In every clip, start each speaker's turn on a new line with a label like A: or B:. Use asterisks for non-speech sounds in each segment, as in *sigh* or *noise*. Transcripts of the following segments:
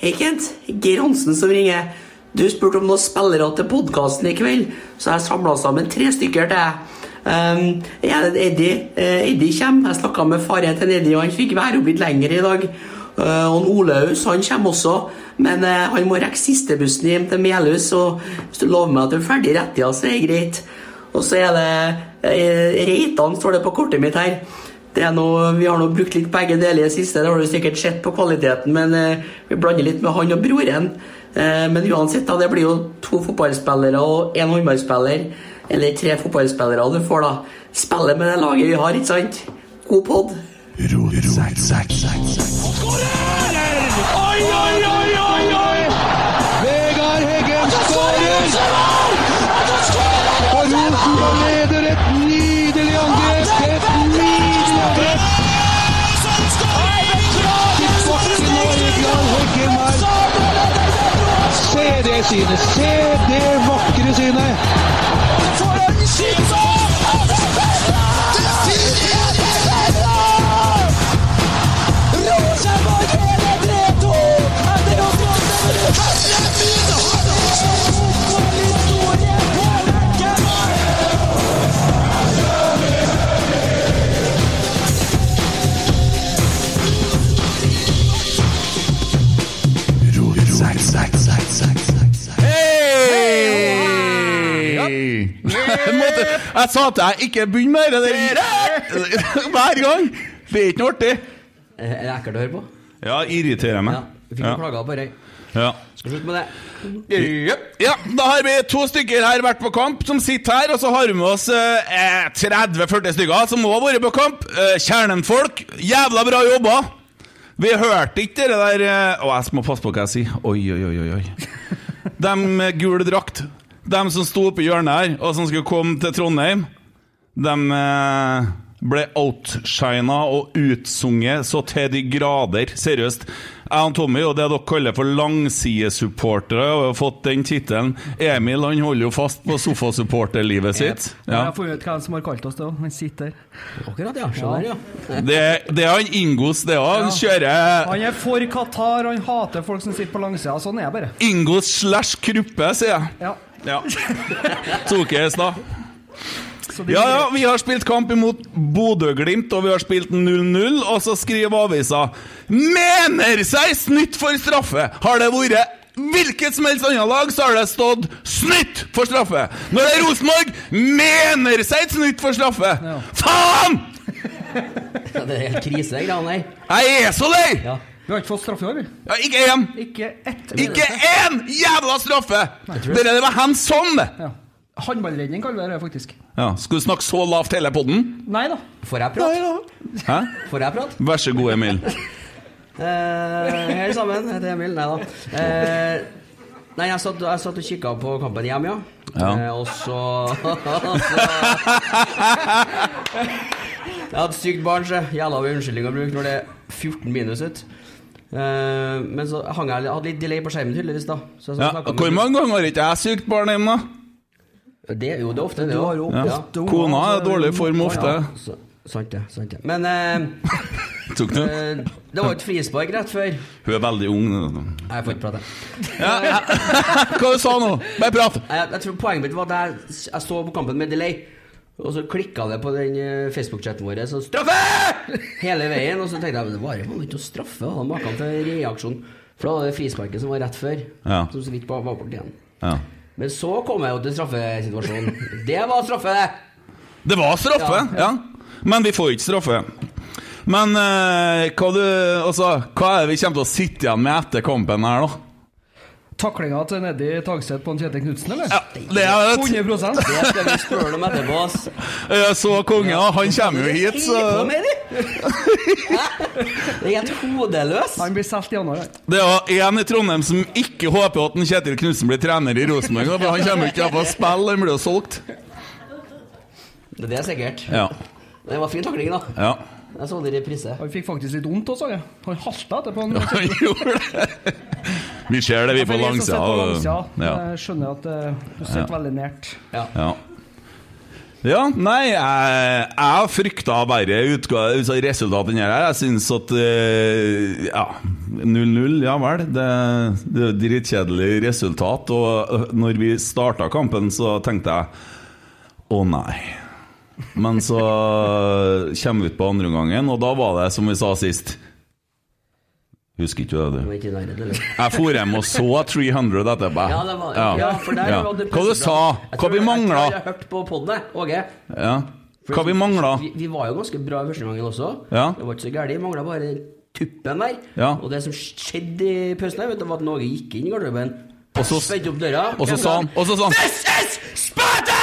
A: Hei, Kent. Geir Hansen som ringer. Du spurte om noen spillere til podkasten i kveld, så jeg samla sammen tre stykker til deg. Um, jeg er Eddie. Eh, Eddie kommer. Jeg snakka med faren til Eddie, og han fikk være opp litt lenger i dag. Eh, og Olaus han kommer også, men eh, han må rekke sistebussen hjem til Melhus. Og hvis du lover meg at du er ferdig i rettida, så er det greit. Og så er det eh, Reitan, står det på kortet mitt her. Det er noe, vi har nå brukt litt begge deler i det siste, det har du sikkert sett på kvaliteten, men eh, vi blander litt med han og broren. Eh, men uansett, da, det blir jo to fotballspillere og én håndballspiller. Eller tre fotballspillere du får, da. Spille med det laget vi har, ikke sant? God pod.
B: Oi, oi, oi, oi, oi! Vegard Heggen skårer! Og Rosenborg leder et nydelig angrep! Et nydelig angrep! Tilbake nå, Vegard Heggen her. Se det synet! Se det vakre synet!
C: Hei! *laughs* Måtte, jeg sa til deg ikke begynn med det der *laughs* hver gang! Det er ikke noe artig.
D: Eh, Er det ekkelt å høre på?
C: Ja, irriterer
D: Ja.
C: meg.
D: Vi fikk
C: Ja.
D: jo klager på det.
C: Ja.
D: Skal slutte med det.
C: ja, da har vi to stykker her vært på kamp, som sitter her. Og så har vi med oss eh, 30-40 stykker som òg har vært på kamp. Eh, Kjernenfolk. Jævla bra jobba! Vi hørte ikke det der eh, Å, jeg må passe på hva jeg sier. Oi, oi, oi, oi, oi. Dem med gul drakt. Dem som sto oppe i hjørnet her, og som skulle komme til Trondheim. Dem eh, ble outshina og utsunget så til de grader. Seriøst. Jeg og Tommy og det dere kaller for langsidesupportere, og har fått den tittelen. Emil han holder jo fast på sofasupporterlivet sitt. Ja.
E: Jeg får ut hva som har kalt oss det òg. Han sitter der.
D: Akkurat, ja. Se der, ja.
C: Det, det er han Ingos, det òg. Han kjører
E: Han er for Qatar, han hater folk som sitter på langsida. Sånn er jeg bare.
C: Ingos slash Kruppe, sier jeg.
E: Ja.
C: Ja. Tok jeg i stad.
E: Så det
C: Ja, ja, vi har spilt kamp imot Bodø-Glimt, og vi har spilt 0-0, og så skriver avisa Mener seg snytt for straffe! Har det vært hvilket som helst annet lag, så har det stått 'snytt for straffe'. Når det er Rosenborg, mener seg et snytt for straffe! Faen!
D: Ja, Det er helt krise, de greiene der.
C: Jeg er så lei!
D: Ja.
E: Vi har ikke fått straffe i år, vi.
C: Ja, ikke én!
E: Ikke ett.
C: Ikke én jævla straffe! Det der var sånn. hands on! det.
E: Ja. Håndballredning kaller vi det faktisk.
C: Ja, skal du snakke så lavt hele podden?
E: Nei da.
D: Får jeg prate?
C: Hæ?
D: Får jeg prate?
C: Vær så god, Emil.
D: Eh, hei sammen, jeg heter Emil. Nei da. Eh, nei, jeg satt, jeg satt og kikka på kampen hjemme, ja.
C: Ja.
D: Eh, og så, og så *laughs* Jeg hadde et sykt barn, så jævla mye unnskyldning å bruke når det er 14 minus ute. Eh, men så hang jeg hadde litt delay på skjermen, tydeligvis. da så jeg
C: Ja,
D: snakket med-
C: Hvor mange ganger har ikke jeg sykt barn hjemme? da?
D: Det er jo det er ofte. Det,
E: Du
D: da.
E: har jo
C: Ja.
E: åtte unger,
C: Kona er
E: så-
C: i dårlig form ofte.
D: Ja, så- Sant det. sant det Men eh,
C: *laughs* Tok du?
D: eh, det var jo et frispark rett før. Nei,
C: Hun altså. er veldig ung. da.
D: Jeg får ikke prate.
C: *laughs* Hva du sa du nå? Bare prat!
D: Jeg, jeg tror Poenget mitt var at jeg, jeg så på kampen med delay. Og så klikka det på den eh, Facebook-chatten vår. Så straffe! Hele veien. Og så tenkte jeg men det varer jo ikke å straffe. Og da maken til reaksjon. For da var det frisparket som var rett før.
C: Ja.
D: Som så vidt var var borti igjen.
C: Ja.
D: Men så kom jeg jo til straffesituasjonen. Det var straffe, det!
C: Det var straffe,
D: Ja,
C: ja. Men vi får ikke straffe. Men eh, hva, du, altså, hva er det vi kommer til å sitte igjen med etter kampen her, da?
E: Taklinga til Neddy Tagset på en Kjetil Knutsen, eller?
C: Ja, det er et,
E: 100
D: Det skal vi spørre om etterpå,
C: *laughs*
D: ass.
C: jeg Eh, så kongen, og han kommer jo hit, så
D: Hva med de?
E: *laughs*
D: Det er helt hodeløs.
E: Han blir solgt i januar. han.
C: Det er jo en i Trondheim som ikke håper at en Kjetil Knutsen blir trener i Rosenborg. da, For han kommer jo ikke til å spille, han blir jo solgt.
D: Det er sikkert.
C: Ja.
D: Det var fin takling, da.
C: ja.
D: Jeg så det i reprise.
E: Han fikk faktisk litt vondt også, han. Han halta
C: *laughs*
E: etterpå. Han,
C: Han gjorde det. Vi ser det, vi
E: For
C: får
E: de som sitter
C: langsida.
E: på
C: og-
E: langsida,
C: Ja.
E: Jeg skjønner at eh, du sitter veldig nært.
C: Ja. Ja, nei, jeg, jeg frykta verre utga- altså, resultat enn det her. Jeg syns at eh, Ja, 0-0, ja vel. Det, det er et dritkjedelig resultat. Og eh, når vi starta kampen, så tenkte jeg å nei. Men så eh, kommer vi ut på andre omgangen, og da var det som vi sa sist. Husker ikke du det,
D: Det var
C: du?
D: ikke i nærheten, eller?
C: *laughs* Jeg for hjem og så 300 etterpå.
D: Ja, det var, ja. for der var det
C: Hva du sa
D: Jeg
C: Hva
D: tror-
C: vi mangla?
D: Jeg tror jeg har hørt på podden, jeg, Åge.
C: Ja. Hva vi mangla?
D: Vi, vi var jo ganske bra i første gangen også.
C: Ja.
D: Det var ikke så gærent. Vi mangla bare tuppen der.
C: Ja.
D: Og det som skjedde i pausen, her, vet du, var at Åge gikk inn i garderoben,
C: Og så-
D: spente opp døra
C: Og så sa han Og så sa han
D: This is Sparta!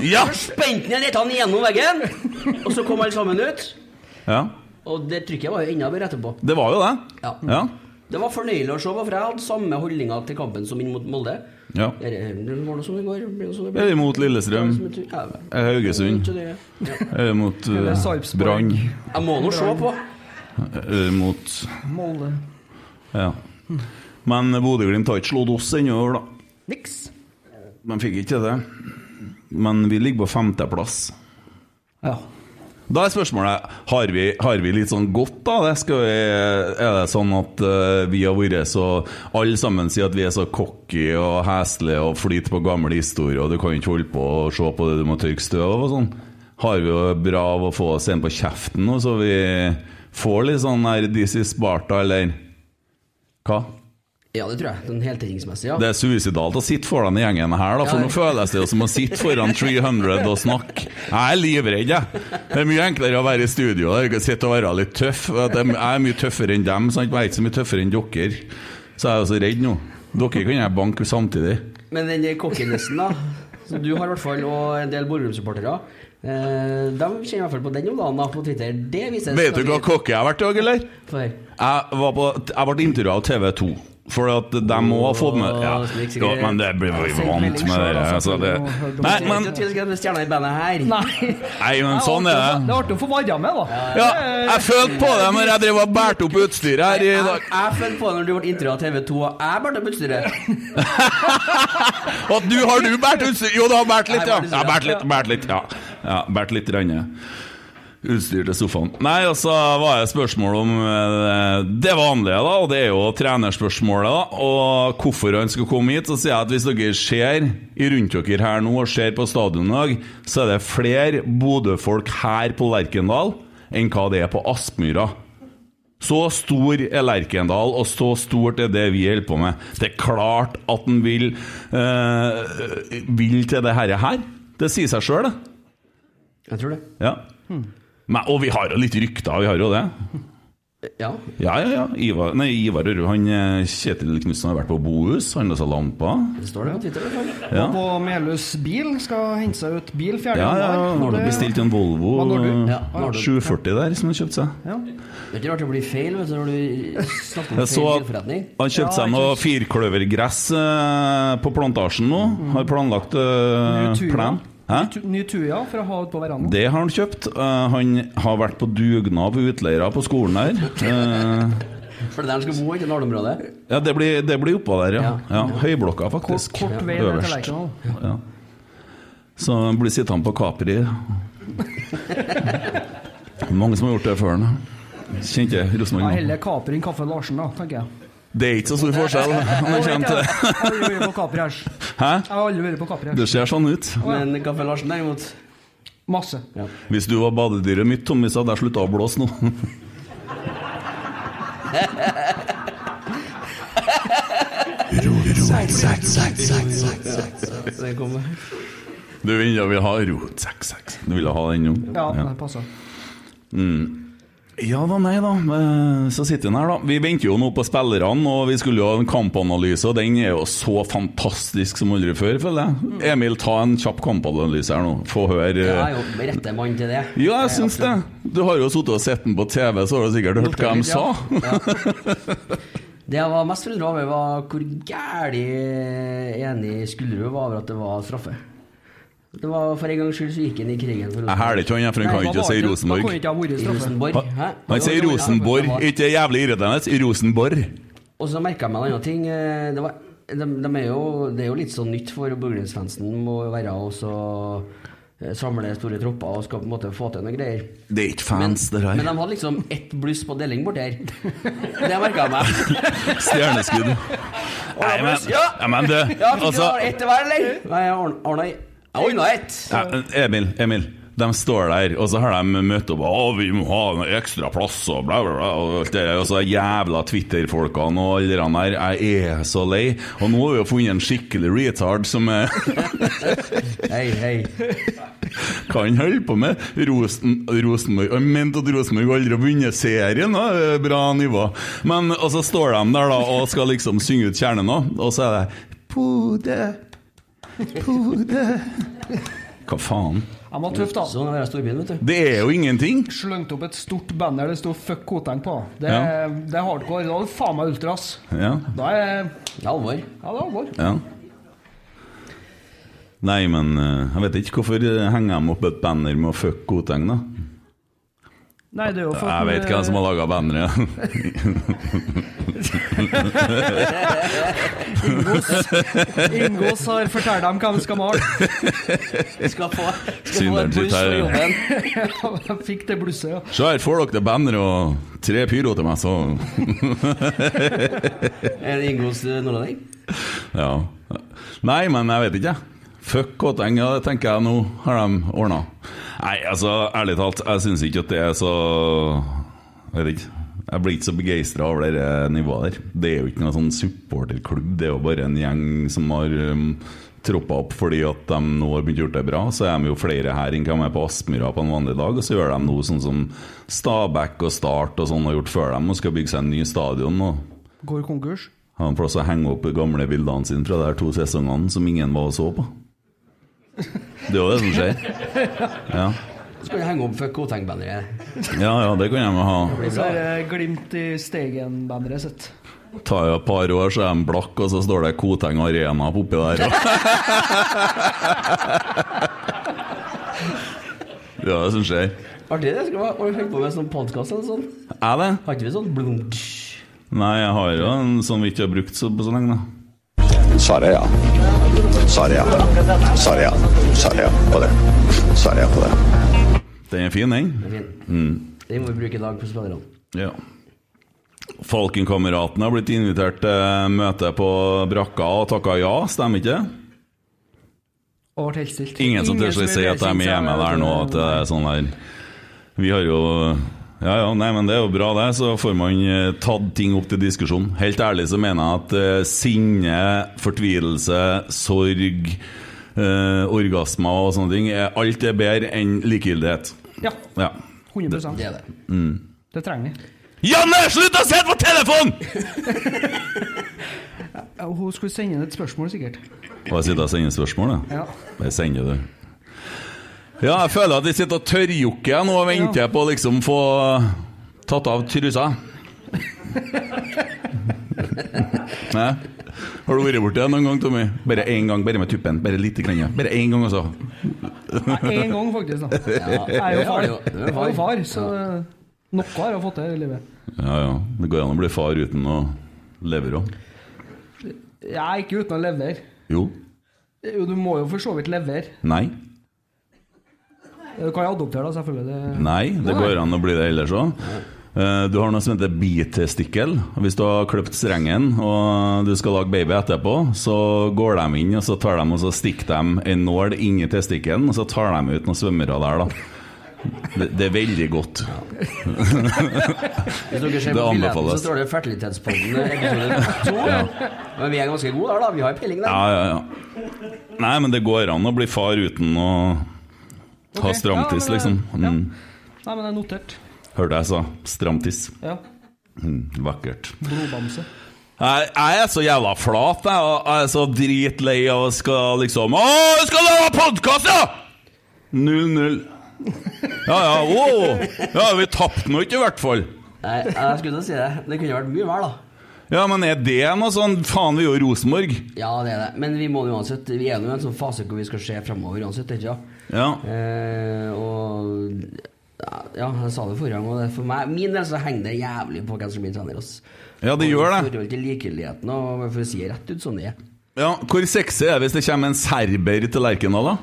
C: Ja!
D: Så spente han litt han gjennom veggen, og så kom alle sammen ut.
C: ja.
D: Og det trykket var jo enda bedre etterpå.
C: Det var jo det.
D: Ja.
C: Ja.
D: Det var fornøyelig å se, for jeg hadde samme holdninga til kampen som inn mot Molde.
C: ja.
D: Er det- det var noe som det går? Blir det sånn det
C: Er
D: blir?
C: vi mot Lillestrøm?
D: Ja.
C: Er vi Haugesund?
D: Ikke det. Ja.
C: *laughs* Er vi mot eh,
E: Eller Sarpsborg.
C: Brann?
D: Jeg må nå se på.
C: Er vi Eh, mot
E: Molde.
C: Ja. Men Bodø-Glimt har ikke slått oss ennå, da.
E: Niks.
C: De fikk ikke til det. Men vi ligger på femteplass.
E: Ja.
C: Da er spørsmålet har vi, har vi litt sånn godt av det? Skal vi, er det sånn at eh, vi har vært så Alle sammen sier at vi er så cocky og heslige og flyter på gamle historier, og du kan ikke holde på og se på det du må tørke støv av og sånn. Har vi jo bra av å få oss en på kjeften nå, så vi får litt sånn her This is Sparta, eller hva?
D: Ja, det tror jeg. Den heltidingsmessige, ja.
C: Det er suicidalt å sitte foran den gjengen her, da, for
D: Ja.
C: nå føles det jo som å sitte foran 300 og snakke. Jeg er livredd, jeg. Det er mye enklere å være i studio der, ikke sitte og være litt tøff. At Jeg jeg er mye tøffere enn dem, sant? jeg er ikke så mye tøffere enn dere. Så jeg er jo så redd nå. Dere kan jeg banke samtidig.
D: Men den kokkenessen, da, som du har i hvert fall, og en del Borum-supportere, eh, de kjenner i hvert fall på den om dagen da, på Twitter. Det vises.
C: Vet du hva kokke jeg har vært i dag, eller?
D: For.
C: Jeg, var på, jeg ble intervjua av TV 2. For at de må ha fått med ja.
D: Åh, slik
C: ja,
D: sikkert.
C: Men det blir vi vant med. Det, altså, det. Nei, men,
D: Jeg tror jeg skal ha stjerna i bandet her. *laughs*
E: Nei.
C: nei, men sånn
E: det
C: er
E: artig å-
C: det.
E: Det er artig å få varra med, da.
C: Ja, jeg følte på det når jeg drev og bærte opp utstyret her i
D: Jeg,
C: dag.
D: jeg følte på det når du ble intervjua av TV 2, og jeg ble
C: *laughs*
D: budsstyret.
C: At du har du bært utstyr? Jo, du har bært litt, ja.
D: Jeg
C: Ja,
D: har bært
C: bært litt, bært litt, ja. ja bært litt rande. Utstyr til sofaen. Nei, og så var det spørsmål om eh, det vanlige, da. Og det er jo trenerspørsmålet, da. Og hvorfor han skulle komme hit. Så sier jeg at hvis dere ser i rundt dere her nå og ser på stadion i dag, så er det flere Bodø-folk her på Lerkendal enn hva det er på Aspmyra. Så stor er Lerkendal, og så stort er det vi holder på med. Det er klart at han vil, eh, vil til det herre her. Det sier seg sjøl, det.
D: Jeg tror det.
C: Ja. Men, og vi har jo litt rykter, vi har jo det.
D: Ja.
C: Ja, ja, ja. Ivar, nei, Ivar Ørre, han eh, Kjetil Knutsen har vært på Bohus, handla seg lamper.
D: Det står det på Twitter. i hvert fall.
C: Ja.
E: På Melhus bil. Skal hente seg ut bil 4.
C: Ja, ja. Han har
E: januar.
C: da bestilt en Volvo
E: Hva når du?
C: eh,
D: Ja, når du.
C: 740 der, som han kjøpte seg.
D: Det er ikke rart det blir feil vet du, når du snakker om
C: Jeg så
D: feil
C: at
D: bilforretning.
C: han kjøpte seg noe
E: Mm.
C: firkløvergress eh, på plantasjen nå. Har planlagt eh,
E: Mye tur,
C: plen.
E: da.
C: Hæ?
E: Tu- Ny tuja for å ha ut på verandaen.
C: Det har han kjøpt. Eh, han har vært på dugnad på utleiere på skolen her. Eh,
D: For det der han skal bo, ikke Nardområdet.
C: ja, det blir, det blir oppå der, ja. ja. Høyblokka,
E: Kort,
C: faktisk.
E: kort vei ned til
C: Øverst.
E: Lerkendal.
C: Ja. Så han blir sittende på Capri. Mange som har gjort det før nå. Kjente jeg
E: Ja,
C: Rosenborg nå.
E: Heller Capri enn Kaffe Larsen, da, tenker jeg.
C: Det er ikke så stor forskjell. Han er kjent.
E: Jeg har aldri vært på Capri her. Jeg
C: Hæ?
E: har aldri vært på Capri her.
C: Det ser sånn ut.
D: Men Kaffe Larsen derimot
E: Masse.
C: Hvis du var badedyret mitt, Tommy, så hadde jeg slutta å blåse nå. *laughs*
D: Det kommer.
C: Du ville vil ha rot, sekk, sekk. Du ville ha den nå? Mm.
E: Ja, det passer.
C: Ja da, nei da. eh, Så sitter vi her, da. Vi venter jo nå på spillerne, og vi skulle jo ha en kampanalyse, og den er jo så fantastisk som aldri før, føler jeg. Emil, ta en kjapp kampanalyse her nå. Få høre.
D: Jeg
C: eh.
D: er jo rette mann til det.
C: Ja, jeg syns det. Du har jo sittet og sett den på TV, så har du sikkert hørt hva de sa.
D: Det jeg var mest forundra over, var hvor gæli enig Skullerud var over at det var straffe. Det var For en gangs skyld så gikk han i krigen for
C: Jeg hæler ikke han, jeg, for han
E: Nei,
C: kan
E: da
C: ikke
E: var
C: si
E: det- Da kunne
C: Rosenborg.
E: ikke ha vært straffe.
D: Rosenborg. Hæ?
C: Han sier Rosenborg, ikke det jævlig irriterende. Rosenborg.
D: Og så merka jeg meg en annen ting. eh, Det, var, de, de er jo, det er jo litt sånn nytt for Borgensfansen å være og så eh, samle store tropper og skal på en måte få til noen greier.
C: Det er ikke fans, det
D: Men de
C: her.
D: hadde liksom ett bluss på deling borti her. Det merka jeg meg.
C: *laughs* Stjerneskudd. Nei, men,
D: Ja.
C: ja, men du,
D: Ja, fikk du
C: altså
D: ordnet ett til hver, eller? Nei, jeg ordna- ordna Jeg ordna ett.
C: Ja, Emil, Emil. De står der, og så har de møtt opp og vi må ha en ekstra plass og bla, bla, bla. Og alt det der, og så jævla Twitter-folkene og alle de der. Jeg er så lei. Og nå har vi jo funnet en skikkelig retard som eh,
D: Hei, hei.
C: kan holde på med Rosen, Rosenborg. Jeg mente at Rosenborg aldri har vunnet serien. Da. Det er Bra nivå. Men, og så står de der da og skal liksom synge ut kjernen, da. og så er det Bodø, Bodø Hva faen?
E: Jeg var tøff, da.
D: Sånn er det i storbyen, vet du.
C: Det er jo ingenting.
E: Slengte opp et stort banner det sto 'fuck Koteng' på. Det, det er hardcore. Da er det faen meg ultras.
C: Ja,
E: Da er
D: Det er alvor.
E: Ja, det er alvor.
C: ja. Nei, men eh, jeg vet ikke hvorfor eh, henger de opp et banner med å fuck Koteng, da?
E: Nei, det er jo for
C: Jeg vet hvem som har laga banneret.
E: *laughs* Ingås har fortalt dem hva de skal male.
D: Jeg skal få, skal få
C: Synderen
D: et
C: sitt
D: bluss
C: her.
D: for jobben.
E: *laughs* Jeg fikk det blusset, ja.
C: Så her får dere det banneret og tre pyro til meg, så
D: Er det Ingos eh, nordlending?
C: Ja. Nei, men jeg vet ikke, jeg. Fuck Koteng, ja, det tenker jeg nå har de ordna. Nei, altså, ærlig talt, jeg syns ikke at det er så Jeg vet ikke. Jeg blir ikke så begeistra over det eh, nivået der. Det er jo ikke noen sånn supporterklubb, det er jo bare en gjeng som har um, troppa opp fordi at de nå har begynt å gjøre det bra. Så er de jo flere her enn hva de er på Aspmyra på en vanlig dag, og så gjør de noe sånn som Stabæk og Start og sånn har gjort før dem, og skal bygge seg en ny stadion. og
E: Går konkurs.
C: har han plass å henge opp gamle bildene sine fra de her to sesongene som ingen var og så på? Det er jo det som skjer.
D: Så kan jeg henge om fuck Koteng-banneret.
C: Ja, ja, det kan de ha.
E: Og så er det Glimt i Steigen-banneret sitt.
C: Tar jo et par år, så er de blakk, og så står det Koteng Arena på oppi der.
E: *laughs*
C: Det er det som skjer.
D: Artig det. Skal vi ha- holde på med sånn podkast eller sånn?
C: Er det?
D: Har ikke vi sånn blunk?
C: Nei, jeg har jo en sånn vi ikke har brukt så, på så lenge, da.
F: Svaret er ja. Svaret er ja. Svaret er ja. Svaret er ja på det. Svaret er ja på det.
C: Den er fin, den. Mm.
D: Det er fint. Den må vi bruke i dag på
C: *laughs*
D: spillerne.
C: Ja. Falkenkameratene har blitt invitert til møte på brakka og takka ja, stemmer ikke?
E: Og ble helt stilt.
C: Ingen som tør å si at de er hjemme der nå, at det er sånn der Vi har jo ja, ja, nei, men Det er jo bra, det. Så får man eh, tatt ting opp til diskusjon. Helt ærlig så mener jeg at eh, sinne, fortvilelse, sorg, eh, orgasmer og sånne ting er- Alt er bedre enn likegyldighet.
E: Ja,
C: Ja. Mm.
E: 100
D: Det
E: Det,
D: er det.
E: trenger vi.
C: Janne, slutt å sitte på telefon!
E: Ja, Hun skulle sende inn et spørsmål, sikkert.
C: Og jeg sitter og sender spørsmål, da.
E: Ja.
C: Det sender du. Ja, jeg føler at jeg sitter og tørrjokker jeg nå og venter på å liksom få tatt av trusa. Nei? Har du vært borti det noen gang, Tommy? Bare én gang, bare med tuppen. Bare lite grann. ja. Bare én gang, altså.
E: Én gang, faktisk. da. Jeg er jo far. Jeg er jo far, så eh, noe har jeg fått til i livet.
C: *laughs* Ja, ja. Det går an å bli far uten å levere òg.
E: Jeg er ikke uten å levere.
C: Jo.
E: Jo, du må jo for så vidt levere.
C: Nei.
E: Du kan jo adoptere, da, selvfølgelig. Det...
C: Nei. Det går an å bli det ellers òg. Du har noe som heter bitestikkel. Hvis du har kløpt strengen og du skal lage baby etterpå, så går de inn og så tar de og så stikker de en nål inni testikkelen, og så tar de ut noen svømmere der, da. Det, det er veldig
E: *laughs*
C: godt.
D: Hvis dere ser på billetten,
C: Det
D: så
C: anbefales.
D: står det Fertilitetspodden eh, episode to. Men vi er ganske gode der, da. Vi har peiling der.
C: Ja, ja, ja. Nei, men det går an å bli far uten å ha
E: Ok.
C: stramtiss,
E: Ja,
C: liksom.
E: men, ja.
C: Mm.
E: Nei, men det er notert.
C: Hørte jeg sa stramtiss.
E: Ja.
C: Mm, vakkert.
E: Blodbamse.
C: Jeg, jeg er så jævla flat, jeg. og Jeg er så dritlei av å skal liksom Å, jeg skal lage podkast, ja! 0-0. Ja, ja, wow. Ja, vi tapte nå ikke, i hvert fall.
D: Nei, jeg skulle til å si det. Det kunne vært mye verre, da.
C: Ja, men er det noe sånn Faen, vi er jo Rosenborg.
D: Ja, det er det. Men vi må det uansett Vi er nå i en sånn fase hvor vi skal se fremover uansett, ikke sant?
C: Ja.
D: Eh, og ja, jeg sa det forrige gang, og det er for meg min del så henger det jævlig på hvem som blir trener. Ass.
C: Ja, det gjør det.
D: I forhold til likegyldigheten, og for å si det rett ut sånn det er.
C: ja. Hvor sexy er det hvis det kommer en serber til Lerkendal, da?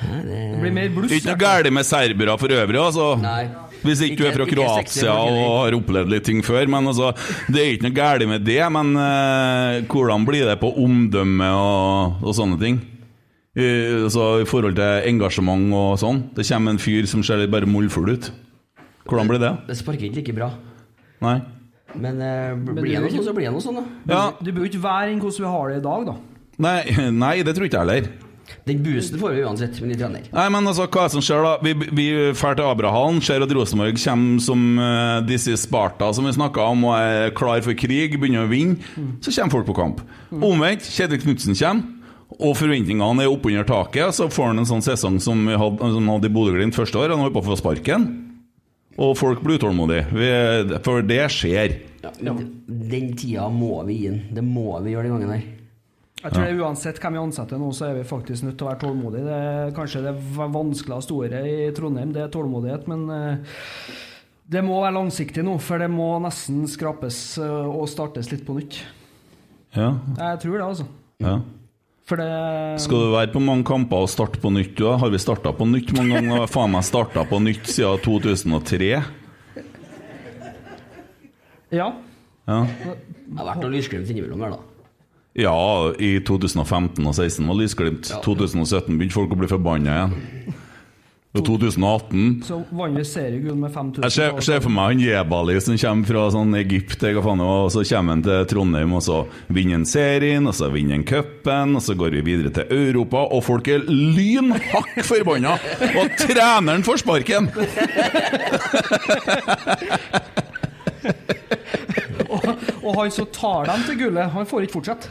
E: Det blir mer bluss.
C: Det er Ikke noe galt med serbere for øvrig, altså.
D: Nei.
C: Hvis ikke du er fra
D: Ikke- ikke sexy
C: Kroatia
D: folk,
C: og
D: heller.
C: har opplevd litt ting før. Men altså, det er ikke noe galt med det. Men eh, hvordan blir det på omdømme og, og sånne ting? I, altså, I forhold til engasjement og sånn. Det kommer en fyr som ser litt bare mollfull ut. Hvordan blir det?
D: Det sparker ikke like bra.
C: Nei?
D: Men eh, bl- blir det noe sånn, så blir det noe sånn, da.
C: Ja.
E: Du bør jo ikke være inn hvordan vi har det i dag, da.
C: Nei, nei, *laughs* det tror ikke jeg heller.
D: Den boosten får vi uansett med ny trener.
C: Nei, men altså, hva er det som skjer da? Vi, vi drar til Abrahallen, ser at Rosenborg kommer som eh, disse Sparta som vi snakket om, og er klar for krig, begynner å vinne. Så kommer folk på kamp. Omvendt, Kjetil Knutsen kommer, og forventningene er oppunder taket. og Så får han en sånn sesong som vi hadde, som han hadde i Bodø-Glimt første år, han holdt på å få sparken. Og folk blir utålmodige, vi, for det skjer.
D: Ja, men Den tida må vi gi den. Det må vi gjøre den gangen her.
E: Jeg tror det er Uansett hvem vi ansetter nå, så er vi faktisk nødt til å være tålmodige. Det er kanskje det v- vanskeligste ordet i Trondheim, det er tålmodighet, men eh, det må være langsiktig nå, for det må nesten skrapes eh, og startes litt på nytt.
C: Ja,
E: Jeg tror det, altså.
C: ja.
E: For det
C: Skal du være på mange kamper og starte på nytt? Du, da? har vi starta på nytt mange ganger? Jeg har Faen meg starta på nytt siden 2003.
E: Ja.
C: Ja.
D: Det har vært noe lysglimt innimellom her, da.
C: Ja, i 2015 og 2016 var lysglimt. 2017 begynte folk å bli forbanna igjen. Og 2018
E: Så vant vi seriegull med 5000.
C: Jeg ser, ser for meg han Jebali som kommer fra sånn Egypt, eller hva faen det var, og så kommer han til Trondheim, og så vinner han serien, og så vinner han cupen, og så går vi videre til Europa, og folk er lynhakk forbanna! Og treneren får sparken! *laughs*
E: Og han som tar dem til gullet, han får ikke fortsette.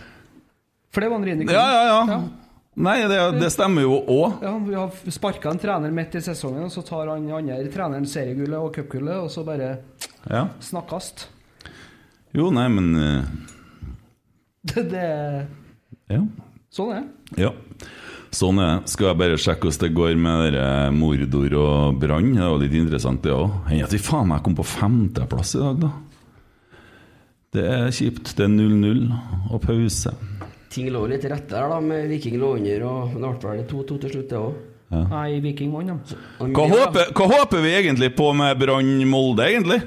E: For det var en Rini
C: Ja, ja, ja. Nei, det, det stemmer jo òg.
E: Ja, vi har sparka en trener midt i sesongen, og så tar han andre treneren seriegullet og cupgullet, og så bare
C: Ja.
E: snakkast.
C: Jo, nei, men
E: *laughs* Det, det
C: eh, Ja.
E: Sånn er det. *laughs*
C: Ja. Sånn er det. Skal jeg bare sjekke hvordan det går med dere mordor og brann? Det er jo litt interessant, det òg. Hender at vi faen meg kom på femteplass i dag, da. Det er kjipt. Det er 0-0 og pause.
D: Ting lå litt til rette der, da, med Viking lå under, og men det ble vel 2-2 til slutt, det òg.
E: Nei, Viking vant, de.
C: Hva håper, hva håper vi egentlig på med Brann-Molde, egentlig?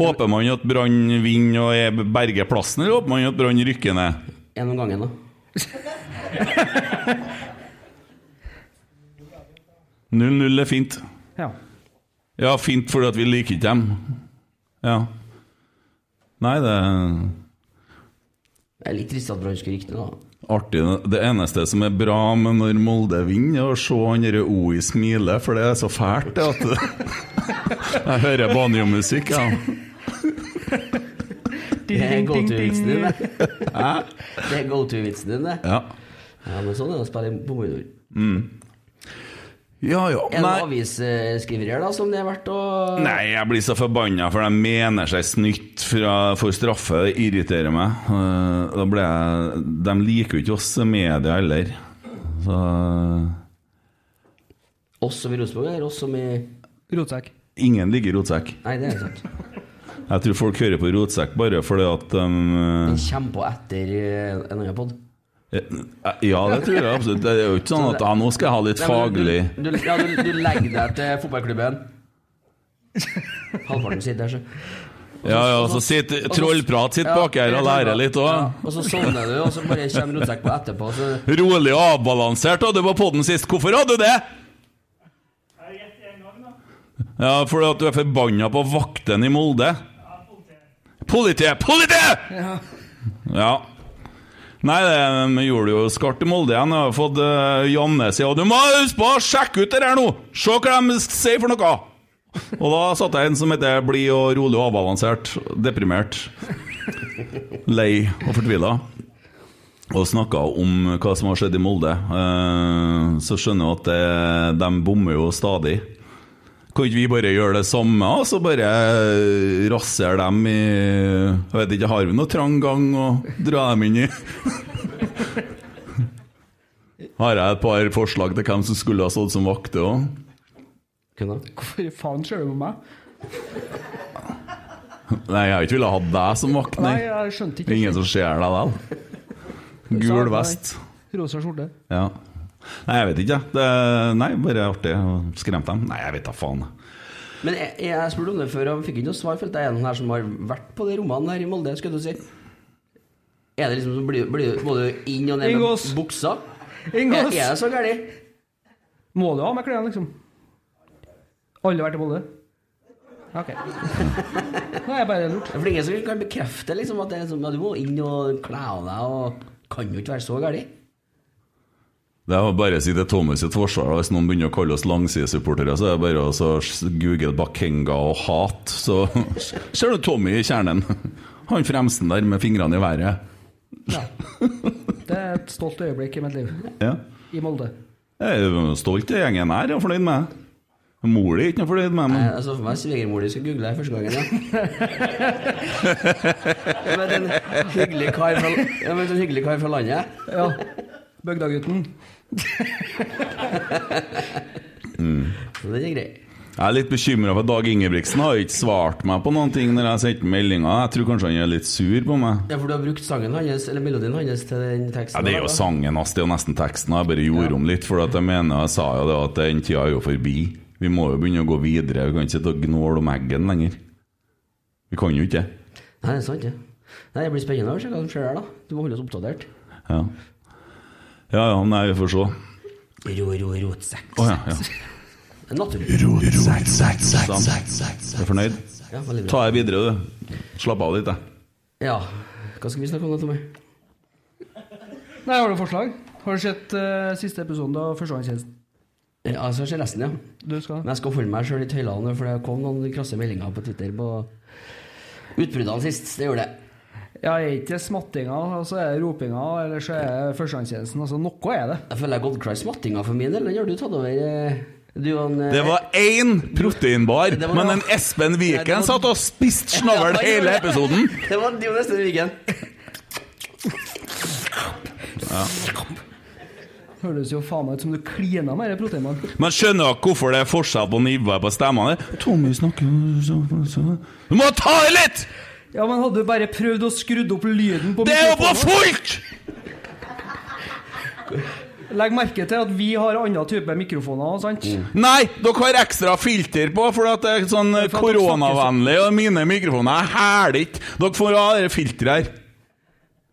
C: Håper man at Brann vinner og er berger plassen, eller håper man at Brann rykker ned?
D: En om gangen, da.
C: Null, null er fint.
E: Ja.
C: Ja, fint fordi at vi liker ikke dem. Ja. Nei, det er
D: Det er litt trist at Brann skulle rykke ned, da.
C: artig. Det eneste som er bra med når Molde vinner, er å se han derre Oi smile, for det er så fælt, det at *laughs* Jeg hører banjomusikk, ja.
D: Det er
E: Ding, ding, ding,
D: go-to-vitsen din,
E: ding. *laughs*
D: det. *laughs* Det er go-to-vitsen din, det.
C: Ja,
D: Ja, men sånn er det å spille på mordor.
C: Mm. ja. ja.
D: Er det noen
C: Nei.
D: avisskriverier, da, som det er verdt å
C: Nei, jeg blir så forbanna, for de mener seg snytt fra, for straffe. Det irriterer meg. Eh, Da ble jeg, de liker jo ikke oss media heller. Så Så
D: Oss som i Rosenborg, eller oss som i Nei,
E: Rotsekk.
C: ingen liker rotsekk.
D: det er sant.
C: Jeg tror folk hører på rotsekk bare fordi at um,
D: Den kommer på etter eh, en annen pod.
C: Eh, Ja, det tror jeg absolutt. Det er jo ikke sånn at ja, nå skal jeg ha litt faglig
D: Du, du, ja, du, du legger deg til fotballklubben. Halvparten sitter der, så.
C: Ja, ja, så sitter trollprat sitt bak her og lærer litt
D: Ja,
C: òg.
D: og så sovner du, og så bare kommer rotsekk på etterpå. Så
C: Rolig og avbalansert hadde du på podden sist. Hvorfor hadde du det? Ja, fordi at du er forbanna på vakten i Molde. Politiet! Politiet! Ja. Nei, det gjorde jo skarpt i Molde igjen. Jeg har fått uh, Janne si Og du må huske på å sjekke ut det her nå! Se hva de sier for noe! Og da satt jeg en som heter blid og rolig og avbalansert. Deprimert. Lei og fortvila og snakka om hva som har skjedd i Molde, eh, så skjønner jeg at det, de bommer jo stadig. Kan ikke vi bare gjøre det samme, og så bare rasser dem i Jeg vet ikke, har vi noe trang gang å dra dem inn i? *laughs* Har jeg et par forslag til hvem som skulle ha stått som vakter òg?
D: kunne
E: Hvorfor faen ser du på meg?
C: Nei, jeg har ikke villet ha deg som vakt,
E: Nei,
C: nei.
E: jeg skjønte
C: Det er
E: ikke.
C: ingen som ser deg likevel. Gul vest.
E: Rosa skjorte.
C: Ja. Nei, jeg vet ikke. Det, nei, bare artig. Skremt dem. Nei, jeg vet da faen.
D: Men jeg, jeg spurte om det før, og fikk ikke noe svar. For at jeg er en her som har vært på de rommene her i Molde, skulle du si. Er det liksom som blir, blir Må du inn og ned med
E: Inngås.
D: buksa? Er, er
E: Ingås!
D: det så gærent?
E: Må du ha med klærne, liksom? Alle har vært i Molde? OK. Nei, jeg bare lurt.
D: Det er For ingen som kan bekrefte liksom at det er som, ja, du må inn og kle av deg, og kan jo ikke være så
E: *laughs*
D: gærent.
C: Det er bare å si til Thomas sitt forsvar. Hvis noen begynner å kalle oss langsidesupportere, så er det bare å så google Bakenga og hat, så *laughs* ser du Tommy i kjernen. Han fremsten der med fingrene i været.
E: Ja. Det er et stolt øyeblikk i mitt liv.
C: Ja.
E: I Molde.
C: Jeg er jo stolt av gjengen her, jeg er fornøyd med. Mor di er ikke noe fornøyd med,
D: Nei,
C: men
D: Jeg så for meg svigermor di skulle google deg første gangen. Ja. Med en hyggelig kar fra, ja, men en hyggelig kar fra landet.
E: Ja. Bøgdagutten.
D: Så det er greit.
C: Mm. jeg er litt bekymra for Dag Ingebrigtsen har jo ikke svart meg på noen ting når jeg sendte meldinger. Jeg tror kanskje han er litt sur på meg.
D: Ja, for du har brukt sangen hans, eller melodien hans til den teksten.
C: Ja, det er jo
D: da.
C: sangen hans, det er jo nesten teksten. Jeg bare gjorde om litt, for at jeg mener jeg sa jo det at den tida er jo forbi. Vi må jo begynne å gå videre. Vi kan ikke sitte og gnåle om eggen lenger. Vi kan jo ikke det.
D: Nei, det er sant, ja. Nei, det blir spennende å se hva som skjer der, da. Du må holde oss oppdatert.
C: Ja. ja ja, nei, vi får se.
D: Ro, ro, rotsekk.
C: Å ja. ja.
D: Det er Naturlig.
C: Er du fornøyd?
D: Ja, veldig bra.
C: Ta det videre, du. Slapp av litt, jeg.
D: Ja, hva skal vi snakke om da, Tommy?
E: Nei, har du forslag? Har du sett eh, siste episoden av Førstegangstjenesten?
D: Ja, altså, jeg ser resten, ja.
E: Du skal
D: Men jeg skal holde meg sjøl litt høylande, for det kom noen krasse meldinger på Twitter på utbruddene sist. Det gjorde det.
E: Ja, er ikke det smattinga, altså. og så er det ropinga, eller så er det førstegangstjenesten. Altså, noe er det.
D: Jeg føler jeg har gått cry smattinga for min del. Den har du tatt over. eh, Du og han eh,
C: Det var én proteinbar,
D: Det var-
C: men en Espen Viken satt og spiste snavl hele episoden.
D: *laughs* Det var det var nesten Viken.
E: Høres jo faen meg ut som du klina med denne proteinmannen.
C: Men skjønner dere hvorfor det er forskjell på nivået på stemmene? Tommy snakker sånn, så, så. Du må ta i litt!
E: Ja, men hadde du bare prøvd å skrudd opp lyden på
C: Det er jo på
E: mikrofonen?
C: fullt!
E: Legg merke til at vi har annen type mikrofoner, sant?
C: Nei, dere har ekstra filter på, for at det er sånn eh,
E: for at dere
C: koronavennlig, og
D: sånn.
C: mine mikrofoner er hæler ikke. Dere får ha det filteret her.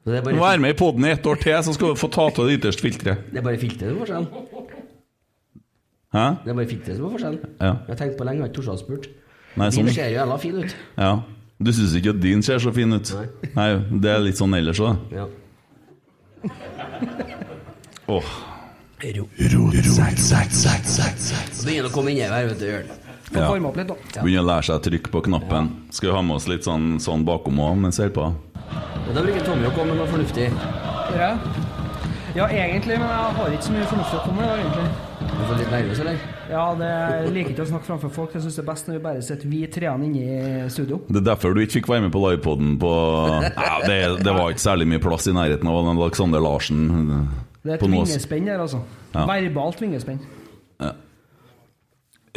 D: Så Det er bare,
C: Vær med i poden i ett år til, så skal du få ta av det ytterste filteret.
D: det er bare filteret som er forskjellen.
C: Hæ?
D: Det er bare filteret som er forskjellen.
C: Ja.
D: Jeg har tenkt på lenge, jeg har ikke tort å spurt.
C: Nei,
D: Din
C: sånn.
D: ser jo jævla fin ut.
C: Ja. Du syns ikke at din ser så fin ut? Nei, det er litt sånn ellers òg.
D: Ja.
C: Åh.
D: Ro. Så begynner det å komme inn i her, vet du. gjør det.
E: Få
C: Ja.
E: varme opp litt, da.
C: Begynner å lære seg å trykke på knappen. Skal vi ha med oss litt sånn, sånn bakom òg mens vi holder på?
D: Og Da bruker Tommy å komme med noe fornuftig.
E: Ja. ja, egentlig, men jeg har ikke så mye fornuftig å komme med. da, egentlig.
D: Du får litt nervøs, eller?
E: Ja, det jeg liker ikke å snakke framfor folk. Jeg syns det er best når vi bare sitter vi treene inne i studio.
C: Det er derfor du ikke fikk være med på livepoden på ja, det, det var ikke særlig mye plass i nærheten av Alexander Larsen. eh,
E: Det er et
C: På noe-
E: vingespenn der, altså.
C: Ja.
E: Verbalt vingespenn.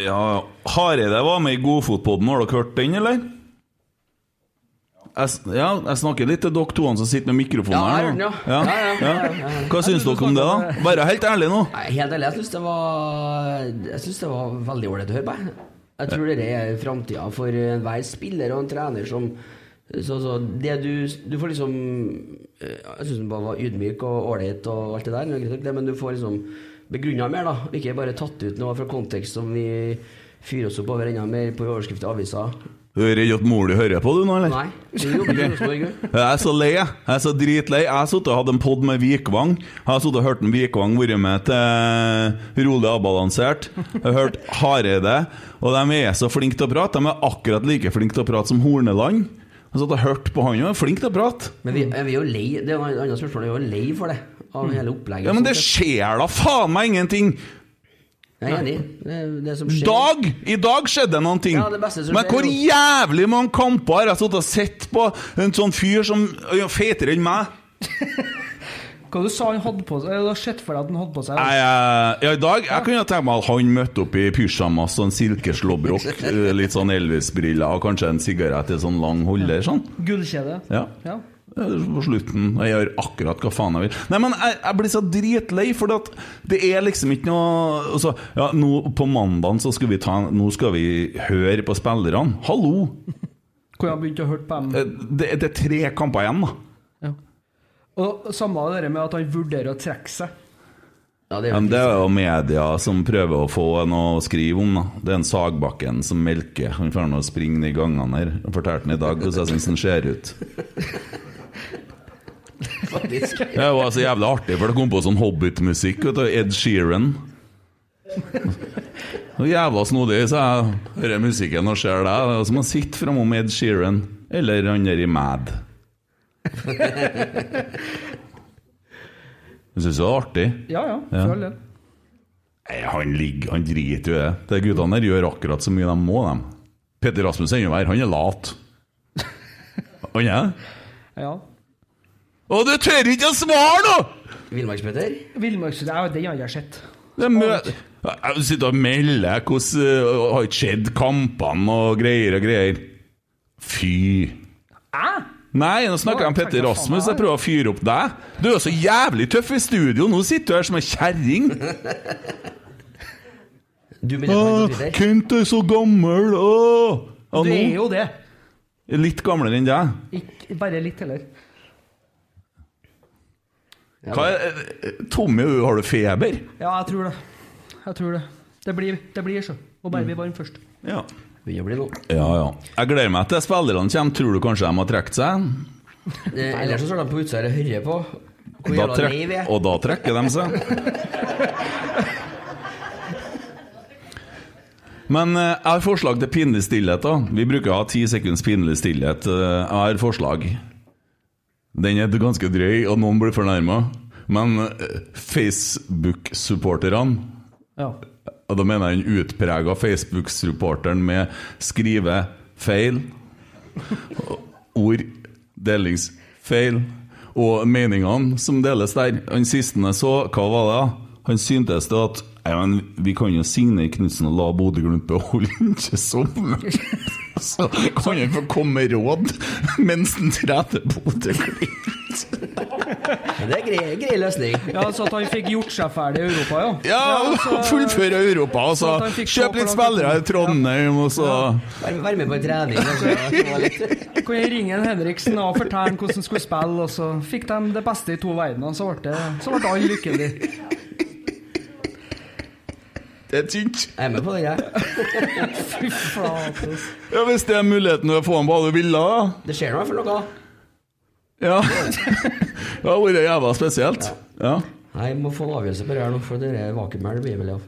C: Ja, Hareide var med i Godfotpodden, har dere hørt den, eller? Jeg, s- ja, jeg snakker litt til dere to som sitter med mikrofonen
D: Ja, jeg
C: her.
D: hører den,
C: nå.
D: ja. Ja, ja, ja, ja, ja.
C: Hva syns dere om det, da? Være helt ærlig nå.
D: Nei, helt ærlig, jeg syns det var Jeg synes det var veldig ålreit å høre på. jeg. Jeg tror det er framtida for enhver spiller og en trener som så, så det du, du får liksom eh, Jeg syns han bare var ydmyk og ålreit og alt det der, det er greit nok det, men du får liksom begrunna mer, da. Ikke bare tatt ut noe fra kontekst som vi fyrer oss opp over enda mer på overskrift i aviser.
C: Du er redd at mor di hører på, du nå, eller?
D: Nei. Vi jobber i Rosenborg, jo.
C: Jeg er så lei, jeg. Jeg er så dritlei. Jeg har sittet og hatt en pod med Vikvang. Jeg har sittet og hørt en Vikvang være med til Rolig avbalansert. Jeg har hørt Hareide. Og de er så flinke til å prate. De er akkurat like flinke til å prate som Horneland. Jeg har satt og hørt på han, og er flink til å prate.
D: Men vi, vi er jo lei Det er et annet spørsmål, vi er jo lei for det. Av hele opplegget.
C: Mm. Ja, men det skjer da faen meg ingenting!
D: Jeg er enig. Det, det som skjer
C: Dag! I dag skjedde noen ting.
D: Ja, det beste som
C: Men
D: skjer,
C: hvor
D: jo.
C: jævlig mange kamper har jeg sittet og sett på en sånn fyr som er feitere enn meg?
E: Hva du sa han hadde på seg? Du har sett for deg at han hadde på seg
C: Nei, jeg- ja, i dag Jeg kunne tenkt meg at han møtte opp i pysjamas og en silkeslåbrok, eh, litt sånn Elvis-briller og kanskje en sigarett i sånn lang holder. sånn
E: gullkjede.
C: Ja.
E: Ja.
C: Eh, På slutten. Jeg gjør akkurat hva faen jeg vil. Nei, men jeg, jeg blir så dritlei, for at det er liksom ikke noe altså, ja, nå, På mandagen så skal vi ta en- Nå skal vi høre på spillerne. Hallo!
E: Hvor han begynte å høre på dem.
C: Eh, Det, det er tre kamper igjen, da.
E: Og samme av det der med at han vurderer å trekke seg.
D: Ja, det
C: Ja,
D: er
C: men
D: jo
C: det er jo media som prøver å få noe å skrive om. da Det er en Sagbakken som melker. Han får nå springe ned i gangene her. Jeg fortalte han i dag hvordan jeg syns han ser ut.
D: faktisk
C: Det var så jævlig altså, artig, for det kom på sånn Hobbit-musikk. vet du, Ed Sheeran. Og jævla snodig, så jeg hører musikken og ser deg. Det er som å sitte framom Ed Sheeran eller han der i Mad. Jeg syns det er artig.
E: *laughs* Ja, ja, for all del.
C: Nei, han ligger, han driter jo i det. De guttene der gjør akkurat så mye de må, dem. Petter Rasmus er jo her, han er lat. Han er det.
E: Ja.
C: Å, du tør ikke å svare, nå!
D: Villmarkspetter.
E: Villmarksrute ja, Den har jeg sett.
C: Det mø... Jeg sitter og melder hvordan øh, Har ikke skjedd kampene og greier og greier. Fy.
E: Æ?
C: Nei, nå snakker jeg om Petter Rasmus. Jeg prøver å fyre opp deg. Du er jo så jævlig tøff i studio. Nå sitter du her som ei kjerring.
D: Du melder meg på Twitter.
C: Kent er så gammel. Åh. Ja,
E: Du er
C: nå.
E: jo det.
C: Litt gamlere enn deg.
E: Ikke, bare litt heller.
C: Hva er, Tommy, har du feber?
E: Ja, jeg tror det. Jeg tror det. Det blir, det blir så. Og
C: Mm.
E: bare bli varm først.
C: Ja.
D: Begynner å bli noe.
C: ja, Jeg gleder meg til spillerne kommer. Tror du kanskje de har trukket seg?
D: Eh, Ellers så står de på utsida her og hører på. Hvor
C: Da
D: jævla
C: trekk-
D: lei vi er.
C: og da trekker de seg. Men eh, jeg har forslag til pinlig stillhet. da Vi bruker å ha ti sekunds pinlig stillhet. Eh, Jeg har forslag. Den er ganske drøy, og noen blir fornærma. Men eh, Facebook-supporterne
E: Ja.
C: Og da mener jeg den utprega Facebook-supporteren med skrivefeil, ord, delingsfeil og meningene som deles der. Han siste jeg så, hva var det? da? Han syntes det at Nei, men vi kan jo signere Knutsen og la Bodø-Glimt beholde ham til sommeren. *laughs* Så kan han få komme med råd mens han trener Bodø-Glimt.
D: Men det er grei, grei løsning.
E: ja, så at han fikk gjort seg ferdig i Europa, ja.
C: Ja,
E: altså-
C: fullføre Europa, og så
E: Så at han fikk se
C: kjøp litt
E: på noen-
C: spillere i Trondheim, og så
D: Vær, vær med på en trening. Altså.
E: Kan jeg ringe en Henriksen og fortelle han hvordan han skulle spille, og så fikk de det beste i to verdener, så ble, det, så ble alle lykkelige.
C: Det er tynt.
D: Jeg er med på den, jeg.
E: *laughs* Fy flate.
C: Ja, Hvis det er muligheten å få ham på alle villa,
D: Det skjer nå i hvert fall noe.
C: da.
D: *laughs*
C: Ja. det har vært jævla spesielt. Ja.
D: Nei, Jeg må få en avgjørelse på det her nå, for det er vakuum her det blir vel av.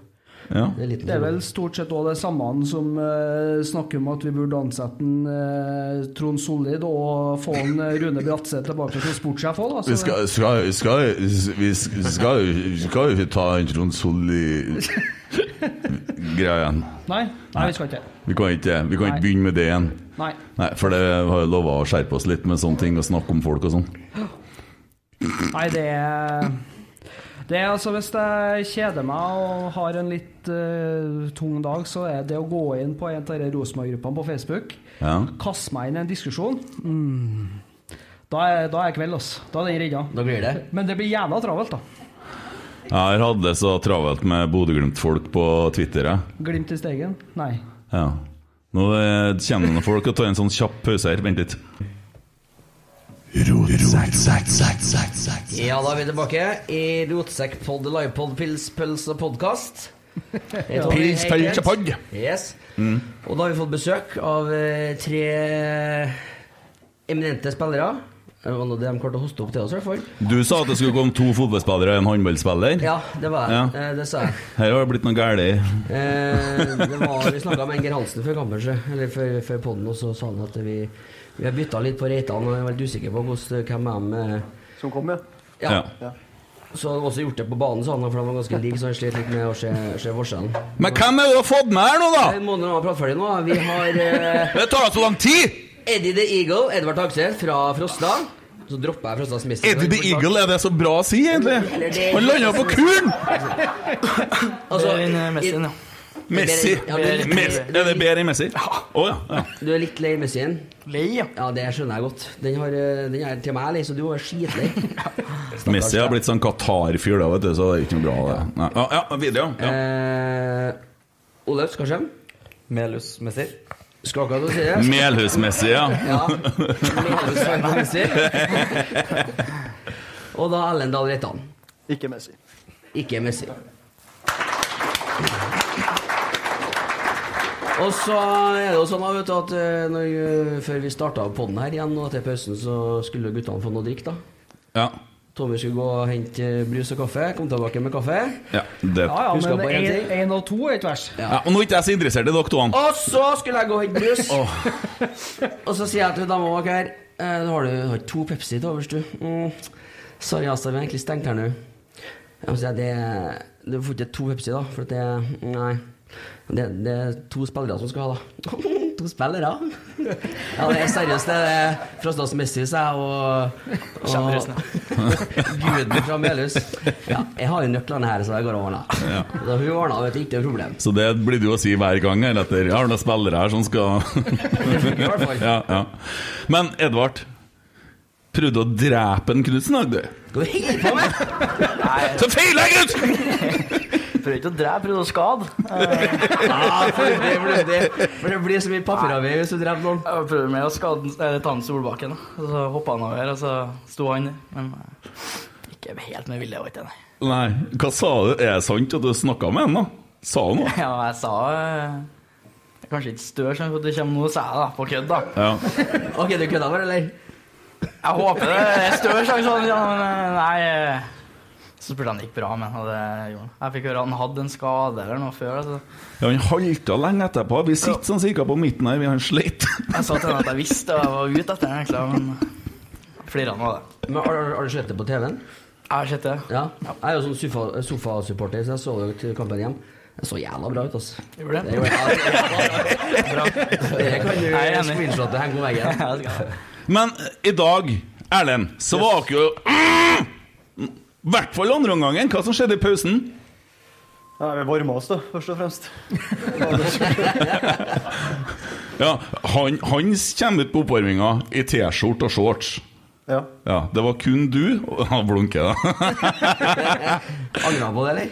C: ja.
D: Det er
E: Det er vel
D: liten
E: stort sett også det samme han som eh, snakker om at vi burde ansette en, eh, Trond Sollid og få en eh, Rune Bratseth tilbake som sportssjef altså. òg, da.
C: Vi
E: Så
C: skal, skal, skal, vi skal, skal vi ta en Trond Solli-greien?
E: *laughs* Nei, nei, vi skal ikke det.
C: Vi kan ikke, vi kan
E: Nei.
C: ikke begynne med det igjen.
E: Nei.
C: Nei, For det har jeg lova å skjerpe oss litt med sånne ting og snakke om folk og sånn.
E: nei, det er Det er altså Hvis jeg kjeder meg og har en litt eh, tung dag, så er det å gå inn på en av de Rosenborg-gruppene på Facebook,
C: Ja.
E: kaste meg inn i en diskusjon mm. da, er, da er kveld, altså. Da er den redda.
D: Da blir det.
E: Men det blir jævla travelt, da.
C: Jeg har hatt det så travelt med Bodø-Glimt-folk på Twitter. Jeg.
E: Glimt i stegen? Nei.
C: Ja. Nå eh, kjenner noen folk og tar en sånn kjapp pause her. Vent litt.
D: Ja, da er vi tilbake i Rotsekkpod, livepod, pils, pøls og podkast.
C: Pils, pøls og Mm. podd.
D: Yes. Og da har vi fått besøk av eh, tre eminente spillere. Det var noe de klarte å hoste opp til oss, i hvert fall.
C: Du sa at det skulle komme to fotballspillere og en håndballspiller.
D: Ja, det var jeg.
C: Ja.
D: Eh, Det sa jeg.
C: Her har det blitt noe galt.
D: Eh, det var, vi snakka med Enger Hansen før kampen, så- eller før, før podden, og så sa han at vi, vi har bytta litt på Reitan, og jeg er veldig usikker på hvordan, hvem av dem eh,
G: Som kom, ja.
D: ja.
C: Ja.
D: Så han har også gjort det på banen, sa han, for han var ganske lik, så han slet litt med å se, se forskjellen.
C: Men hvem er det du har fått med her nå, da?
D: Vi må nå ha pratferdig nå. Vi har eh,
C: *laughs* Det tar så lang tid!
D: Eddie the Eagle, Edvard Hagseth fra Frosta. Så dropper jeg Frostas Mister.
C: Eddie the Eagle, er det så bra å si, egentlig? Han landa på kuren!
D: Altså,
G: Messien, ja.
C: Messi.
D: Ja, du er litt-
C: Messi. Er det bedre enn Messi? Å ja. ja.
D: Du er litt lei Messien.
G: Lei, ja.
D: Ja, det skjønner jeg godt. Den, har, eh, den er til meg lei, så du var skitlei.
C: Messi har blitt sånn Qatar-fyr, da, vet du, så det er ikke noe bra. Det. Nei. Ja, *laughs* ja, videre, ja. ja.
D: Eh, Olaug Skarsheim.
G: Melhus Messi.
D: Skal akkurat å si det.
C: Melhus-Messi, ja.
D: Ja. Melhus var på Messi. Og da Ellen Dahl Reitan.
G: Ikke Messi.
D: Ikke Messi. Og så er det jo sånn da, vet du, at eh, når, eh, før vi starta poden her igjen, og etter pausen, så skulle guttene få noe å drikke. da.
C: ja.
D: Tommy skulle gå og hente eh, brus og kaffe. Kom tilbake med kaffe.
C: *laughs* ja. Det.
E: Ja ja,
D: Husker på en
E: men
D: ting.
E: én og to er ikke verst.
C: Ja, og nå er ikke jeg så interessert i dere to. han.
D: Og så skulle jeg gå og hente brus. og så sier jeg til dama bak her eh, Har du har to Pepsi til overs, du? Mm. Sorry, altså, vi har egentlig stengt her nå. Ja, men sier jeg, det, du får ikke to Pepsi, da, for at det Nei. Det, det er to spillere som skal ha, da. *laughs* to spillere? ja, det er seriøst. Det er Frostas Messi, sa jeg, og, *laughs* og Guden fra Melhus. Ja, jeg har jo nøklene her, så jeg går og ordner. Ja. Hun ordna, vet du, ikke noe problem.
C: Så det blir det jo å si hver gang. Eller etter. Jeg har noen spillere her som *laughs* skal
D: Det funker i hvert fall.
C: ja, ja. Men Edvard prøvde å drepe en Knutsen, dag, du.
D: Hva holder du på med?
C: Så feila jeg, gutt!
G: Prøvde ikke å drepe, prøvde å skade.
D: Ja, for det, for det, for det blir så mye papirarbeid hvis du dreper noen.
G: Jeg prøvde med å skade eh, Tann Solbakken, da. og så hoppa han over, og så sto han. Men eh, ikke helt med vilje, var ikke det. nei.
C: Nei, hva sa du? Er det sant at du snakka med henne? da? Sa hun noe?
G: *laughs* Ja, jeg sa eh, det er Kanskje ikke stør, sånn at det kommer noe, sa jeg da, på kødd, da.
C: Ja.
D: Ok, du kødda bare, eller?
G: Jeg håper det er større sjanse, sånn, ja, men eh, nei eh, Så spurte han det gikk bra, men og det gjorde han. Jeg fikk høre han hadde en skade eller noe før. Altså.
C: ja, Han halta lenge etterpå. Vi sitter sånn cirka på midten her, vi har slitt.
G: Jeg sa til han at jeg visste og jeg var ute etter han, egentlig, men flirte han av det.
D: Men har, har- har du sett det på TV-en?
G: Jeg har sett det.
D: Ja. Jeg er jo sånn sofa- sofasupporter, så jeg så jo til kampen hjem. Det så jævla bra ut, altså.
G: Gjorde
D: Det
G: det?
D: gjorde jeg. Det
G: Bra.
D: kan
G: Jeg er
D: du
G: enig.
D: screenshotte henge på
H: *laughs*
D: veggen.
G: Ja, det skal
C: *laughs*
G: jeg.
C: Men eh, i dag, Erlend, så var dere jo Mm! I hvert fall andre omgangen. Hva som skjedde i pausen?
G: Ja, vi varma oss, da, først og fremst.
C: Ja, han, han kommer ut på oppvarminga i T-skjorte og shorts.
G: Ja.
C: Ja, Det var kun du Han blunker, da.
D: Angra han på det, eller?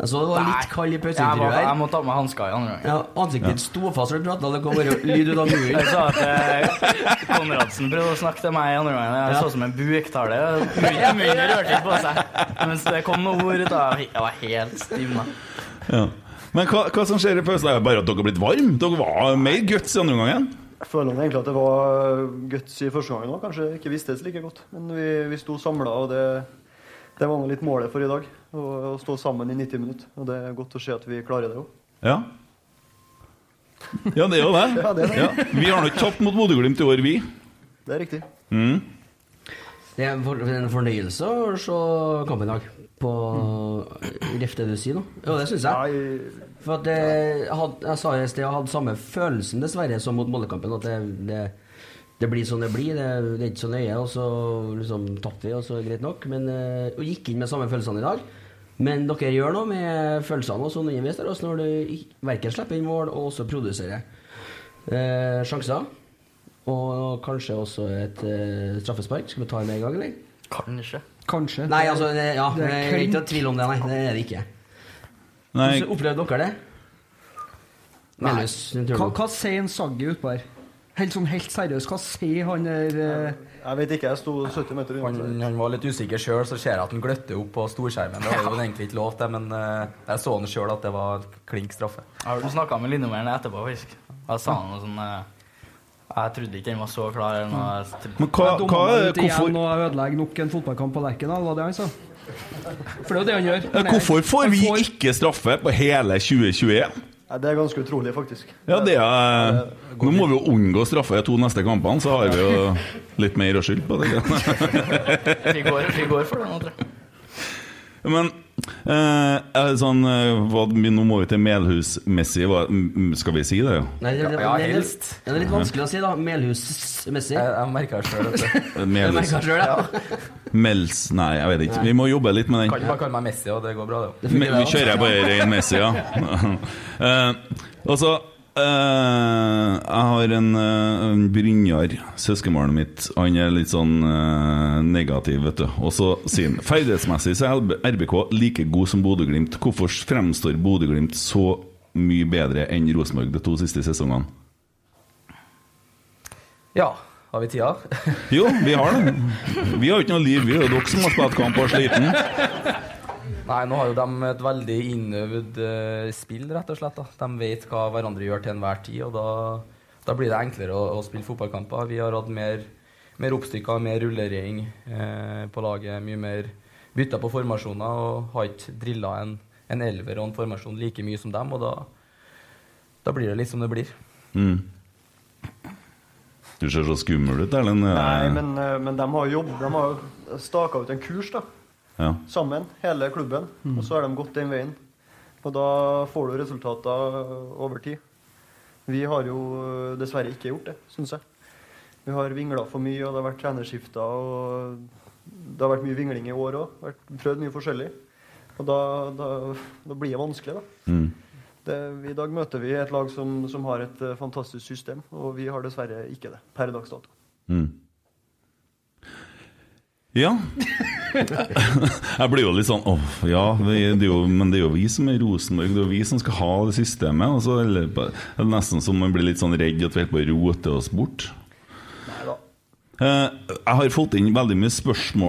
D: Jeg så det var litt kald i
G: Jeg, må,
D: pauseintervjuet
G: jeg
D: her.
G: må ta på meg hansker i andre gang.
D: Ja, ansiktet ditt sto fast når du prata, det kom bare lyd ut av
I: *laughs*
G: Jeg
D: muren.
G: sa at eh, Konradsen prøvde å snakke til meg i andre gangen. Jeg så ut som en buktale. Munnen munnen rørte ikke på seg. Mens det kom noen ord ut av Jeg var helt stivna.
C: Ja. Men hva, hva som skjer i pausen? Det er bare at dere har blitt varme. Dere var mer guts i andre omgangen.
G: Jeg føler egentlig at det var guts i første gangen òg. Kanskje ikke vistes like godt. Men vi, vi sto samla, og det, det var nå litt målet for i dag. Å, å stå sammen i 90 minutter. Og det er godt å se at vi klarer det òg.
C: Ja. Ja, det er jo det.
G: *laughs* Ja, det er det.
C: Ja. Vi har nå ikke tapt mot Bodø-Glimt i år, vi.
G: Det er riktig.
D: Det er en for- en fornøyelse å se kampen i dag. På Ref det du sier nå. Ja, det syns jeg.
G: Nei,
D: For at jeg, had, jeg sa jo i sted jeg hadde samme følelsen dessverre som mot Moldekampen. At det, det, det blir sånn det blir. Det, det er ikke så nøye. Og så liksom tapte vi, og så er det greit nok. Men eh, og gikk inn med samme følelsene i dag. Men dere gjør noe med følelsene og sånn underveis der, også når du ik- verken slipper inn mål og også produserer eh, sjanser. Og kanskje også et eh, straffespark. Skal vi ta det med en gang, eller?
H: Kanskje.
E: Kanskje.
D: Nei, altså, det, ja,
E: Det
D: det er
E: er
D: ikke noe
E: klink.
D: tvil om det, nei. Det er det ikke.
C: Nei.
D: Hvordan opplevde dere det?
E: Nei.
D: Melhus, den turen.
E: Hva, hva sier en Saggi utpå her? Helt sånn helt seriøst, hva sier han der eh,
G: Jeg vet ikke, jeg sto 70 meter
H: Han,
G: unna.
H: han var litt usikker sjøl, så ser jeg at han gløtter opp på storskjermen. Det var jo egentlig ikke lov til, men eh, jeg så han sjøl at det var klink straffe.
I: Jeg har snakka med linjemannen etterpå, faktisk. Da sa han noe sånn eh, Jeg trodde ikke den var så klar. Eller noe. Jeg trodde-
E: Jeg dommer ut Igjen og ødelegger nok en fotballkamp på Lerkendal, var det han sa? For det er jo det han gjør.
C: Eh, Hvorfor får vi ikke straffe på hele 2021?
G: Nei, det er ganske utrolig, faktisk.
C: Ja, det er, Nå må vi jo unngå straffe de to neste kampene, så har vi jo litt mer å skylde på.
G: *laughs*
C: tenker
I: Vi
C: jeg.
I: går, vi går for det nå, tror jeg.
C: Men eh, er det sånn, eh, hva, vi- nå må vi til Melhus-messig. hva- m- Skal vi si det? ja?
D: Nei, det, det,
H: Ja,
D: det, det,
H: helst.
D: det er litt vanskelig å si, da. Melhusmessig.
H: Jeg, jeg merka det sjøl, vet du.
D: *laughs* Jeg
C: Melhus.
D: merker selv, ja.
C: Mels Nei, jeg vet ikke. Vi må jobbe litt med den.
H: Kan bare kalle meg Messi, og det går bra, det.
D: fungerer,
C: Men, vi
D: altså.
C: kjører bare ren Messi, ja. *laughs* Eh, og så eh, Jeg har en, eh, en Brynjar, søskenbarnet mitt. Han er litt sånn eh, negativ, vet du. Og så sier han ferdighetsmessig så er RBK like god som Bodø-Glimt. Hvorfor fremstår Bodø-Glimt så mye bedre enn Rosenborg de to siste sesongene?
H: Ja. Har vi tida?
C: *laughs* Jo, vi har det. Vi har jo ikke noe liv, vi er jo dere som har spilt kamp og er sliten.
H: Nei, nå har jo de et veldig innøvd eh, spill, rett og slett. da. De vet hva hverandre gjør til enhver tid, og da, da blir det enklere å, å spille fotballkamper. Vi har hatt mer, mer oppstykker, mer rullering eh, på laget, mye mer bytta på formasjoner, og har ikke drilla en, en elver og en formasjon like mye som dem, og da, da blir det litt som det blir.
C: Mm. Du ser så skummel ut, Erlend.
G: Nei, men, eh, men de har jobb. De har jo staka ut en kurs, da.
C: Ja.
G: Sammen, hele klubben. Og så har de gått den veien. Og da får du resultater over tid. Vi har jo eh, dessverre ikke gjort det, syns jeg. Vi har vingla for mye, og det har vært trenerskifter. Og det har vært mye vingling i år òg. Prøvd mye forskjellig. Og da, da, da blir det vanskelig, da.
C: Mm.
G: Det, I dag møter vi et lag som, som har et eh, fantastisk system, og vi har dessverre ikke det per dags dato.
C: Mm. Ja. *laughs* Jeg blir jo litt sånn åh, ja, vi, det er jo, men det er jo vi som er Rosenborg. Det er jo vi som skal ha det systemet. Og så er det bare- det er nesten som man blir litt sånn redd at vi holder på å rote oss bort. Eh, Jeg har fått inn veldig mye spørsmål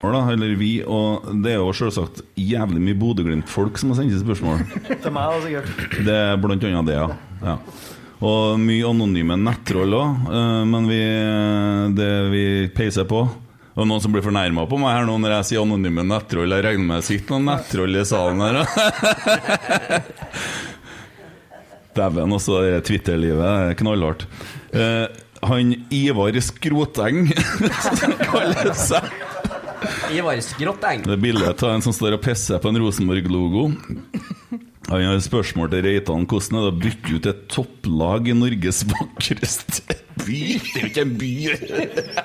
C: da, eller vi, og det er jo selvsagt jævlig mye Bodø-Glimt-folk som har sendt inn spørsmål.
G: Til meg, da, sikkert.
C: Det er blant annet det, ja. ja. Og mye anonyme nettroll òg, men vi, eh, det vi peiser på Og noen som blir fornærma på meg her nå når jeg sier anonyme nettroll. Jeg regner med det sitter noen nettroll i salen her. da. *laughs* Dæven, også det Twitter-livet er knallhardt. Eh, han Ivar Skroteng, *laughs* som han kaller seg.
D: Ivar Skrotteng.
C: Det er bildet av en som står og pisser på en Rosenborg-logo. Han har et spørsmål til Reitan. Hvordan er det å bytte ut et topplag i Norges vakreste by? Det er jo ikke en by!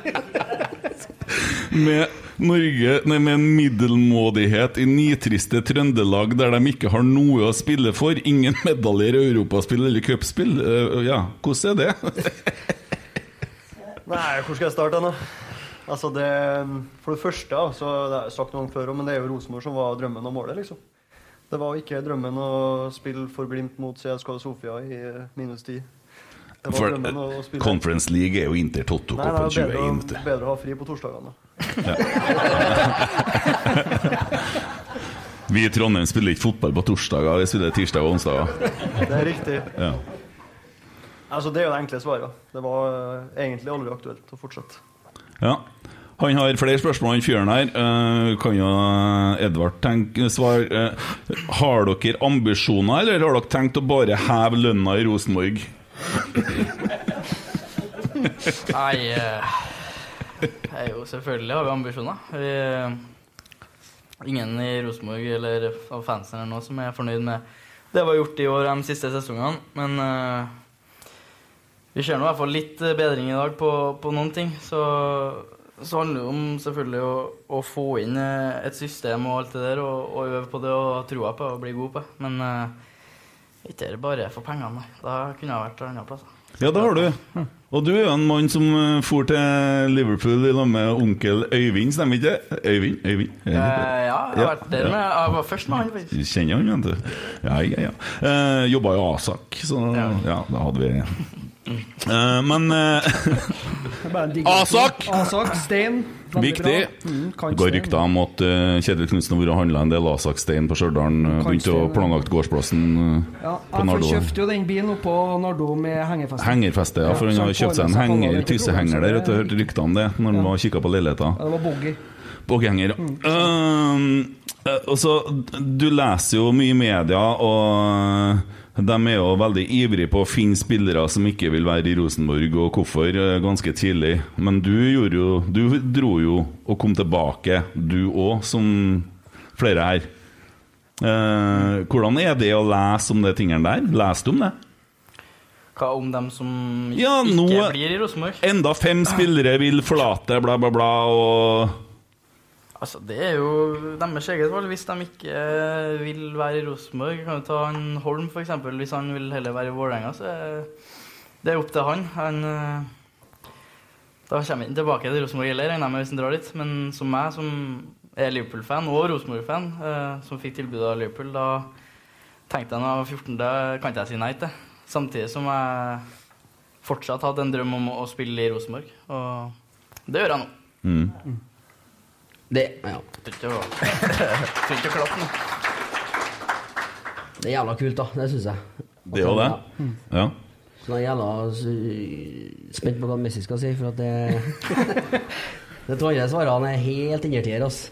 C: Med Norge, nei, med en middelmådighet i nitriste Trøndelag der de ikke har noe å spille for. Ingen medaljer i europaspill eller cupspill. Eh, ja, hvordan er det?
G: Nei, hvor skal jeg starte nå? Altså det, for det første, da, så det har jeg sagt noen før, også, men det er jo Rosenborg som var drømmen og målet. liksom. Det var ikke drømmen å spille for Glimt mot CSKA Sofia i eh, minus 10. Det var
C: For,
G: drømmen å
C: eh,
G: spille
C: Conference League er jo Inter
G: Nei, det
C: Toto-cupen
G: er bedre,
C: 21.
G: å- bedre å ha fri på torsdagene.
C: Vi i Trondheim spiller ikke fotball på torsdager, vi spiller tirsdag og onsdager.
G: *laughs* Det er riktig.
C: Ja.
G: Altså, det er jo det enkle svaret. Det var eh, egentlig aldri aktuelt å fortsette.
C: Ja. Han har flere spørsmål, han fyren her. Eh, kan jo Edvard tenke svar eh, Har dere ambisjoner, eller har dere tenkt å bare heve lønna i Rosenborg?
I: Nei eh, nei, Jo, selvfølgelig har vi ambisjoner. Vi, ingen i Rosenborg eller av fansen eller noe som er fornøyd med det vi har gjort i år de siste sesongene. Men eh, vi ser nå i hvert fall litt eh, bedring i dag på, på noen ting. Så, så handler det om selvfølgelig å, å få inn eh, et system og alt det der, og, og øve på det og ha trua på det og bli god på det. Men eh, ikke er det bare for pengene, nei. Da kunne jeg vært andre plasser.
C: Ja, det har du. Og du er jo en mann som eh, for til Liverpool i lag med onkel Øyvind, stemmer ikke det? Øyvind? Øyvind?
I: Eh, ja, jeg har vært der med Jeg var først med han, faktisk.
C: Du kjenner han, vet du. Ja, ja, ja. Eh, Jobba jo Asak, så ja. da hadde vi Eh, *laughs* Men eh, Asak!
E: Asak, Stein. veldig bra.
C: Viktig.
E: Mm,
C: Det går rykter om at eh, Kjetil Knutsen har vært og handla en del Asak-stein på Stjørdal. eh, Begynte å
E: Kantstein, ja.
C: planlagt gårdsplassen eh,
E: Ja,
C: på
E: jeg
C: Nardo.
E: kjøpte jo den bilen oppå Nardo med hengerfeste.
C: Hengerfeste, ja, for han
E: så
C: har
E: får
C: kjøpt seg en
E: med på
C: henger,
E: Nardo.
C: tyssehenger der. vet Du hørte rykter om det når han var og kikka på leiligheter.
E: Ja, det var boggy.
C: Boghenger. Um, eh, og så, du leser jo mye i media, og eh, de er jo veldig ivrige på å finne spillere som ikke vil være i Rosenborg, og hvorfor, eh, ganske tidlig. Men du gjorde jo Du dro jo og kom tilbake, du òg, som flere her. Eh, hvordan er det å lese om de tingene der? Leste du om det?
I: Hva om dem som ikke
C: Ja, nå
I: blir i Rosenborg?
C: Enda fem spillere vil forlate, bla, bla, bla, og
I: Altså, Det er jo deres eget valg hvis de ikke eh, vil være i Rosenborg. Kan du ta han Holm, f.eks. Hvis han vil heller være i Vålerenga, så er det opp til han. han eh, da kommer han tilbake til Rosenborg heller, regner jeg med, hvis han drar dit. Men som meg, som er Liverpool-fan og Rosenborg-fan, eh, som fikk tilbud av Liverpool, da tenkte jeg når jeg var 14, da kan ikke jeg si nei til. Samtidig som jeg fortsatt hadde en drøm om å å spille i Rosenborg. Og det gjør jeg nå.
C: Mm.
D: Det ja.
I: Trenger *laughs* ikke å trenger ikke å klappe nå.
D: Det er jævla kult, da. Det syns jeg.
C: Det er jo det. Ja.
D: Så da er jeg jævla s- spent på hva Messi skal si, for at det *laughs* Det to andre svarene er helt innertier, ass.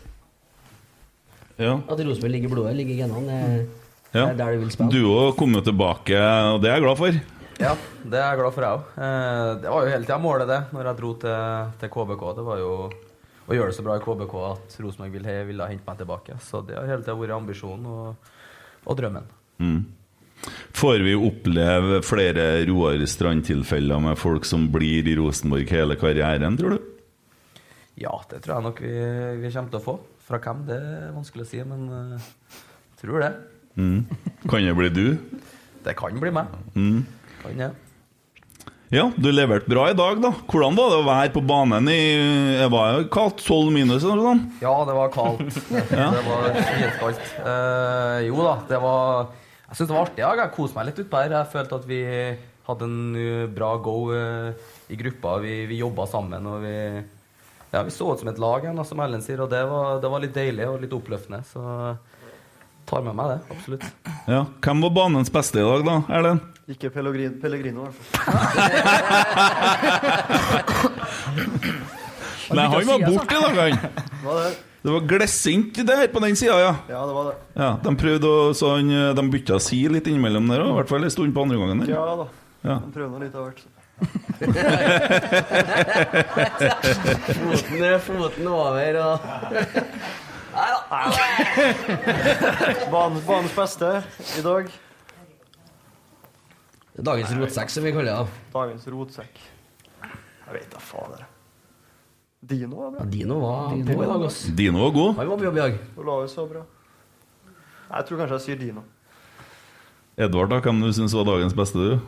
C: Ja.
D: At Rosenborg ligger i blodet, ligger i genene.
C: *laughs*
D: det-
C: Ja.
D: Det er der du vil spille.
C: Du òg kom jo tilbake, og det er jeg glad for.
H: Ja, det er jeg glad for, jeg òg. Eh, Det var jo hele tida målet, det, når jeg dro til, til KBK. Det var jo å gjøre det så bra i KBK at Rosenborg ville, ville hente meg tilbake. Så det har hele tida vært ambisjonen og, og drømmen.
C: Mm. Får vi oppleve flere Roar Strand-tilfeller med folk som blir i Rosenborg hele karrieren, tror du?
H: Ja, det tror jeg nok vi, vi kommer til å få. Fra hvem, det er vanskelig å si, men eh, tror det.
C: Mm. Kan det bli du?
H: Det kan bli meg.
C: Mm.
H: Kan det.
C: Ja, du leverte bra i dag, da. Hvordan var det å være på banen i Det var jo kaldt, 12 minus eller noe sånt?
H: Ja, det var
C: *laughs*
H: kaldt.
C: Ja.
H: Det var skitkaldt. Eh, jo da, det var Jeg syns det var artig. i dag. Jeg koste meg litt utpå her. Jeg følte at vi hadde en eh, bra go eh, i gruppa. Vi, vi jobba sammen, og vi ja, vi så ut som et lag, igjen, da, som Ellen sier. Og det var, det var litt deilig og litt oppløftende. Så tar med meg det, absolutt.
C: Ja. Hvem var banens beste i dag, da, Erlend?
G: Ikke Pellegrin, Pellegrino, i hvert fall.
C: Nei, han var borte i dag, han.
G: Hva er det?
C: Det var glissent der på den sida, ja.
G: Ja, det var det.
C: Ja, de prøvde å så han, eh, De bytta si litt innimellom der òg, i hvert fall en stund på andre gangen. der.
G: Ja da.
C: Ja.
G: Han prøver nå litt av hvert.
D: Foten, foten over og *laughs* Nei da.
G: Ban- *laughs* Banens beste i dag.
D: Dagens rotsekk, som vi kaller det.
G: Dagens rotsekk. Jeg vet da fader. Dino var bra.
D: Dino var
G: Dino
D: på i dag, ass.
C: Dino var god.
D: Han var på jobb i dag.
G: Olaus var bra. Jeg tror kanskje jeg sier Dino.
C: Edvard, da, hvem du syns var dagens beste? du?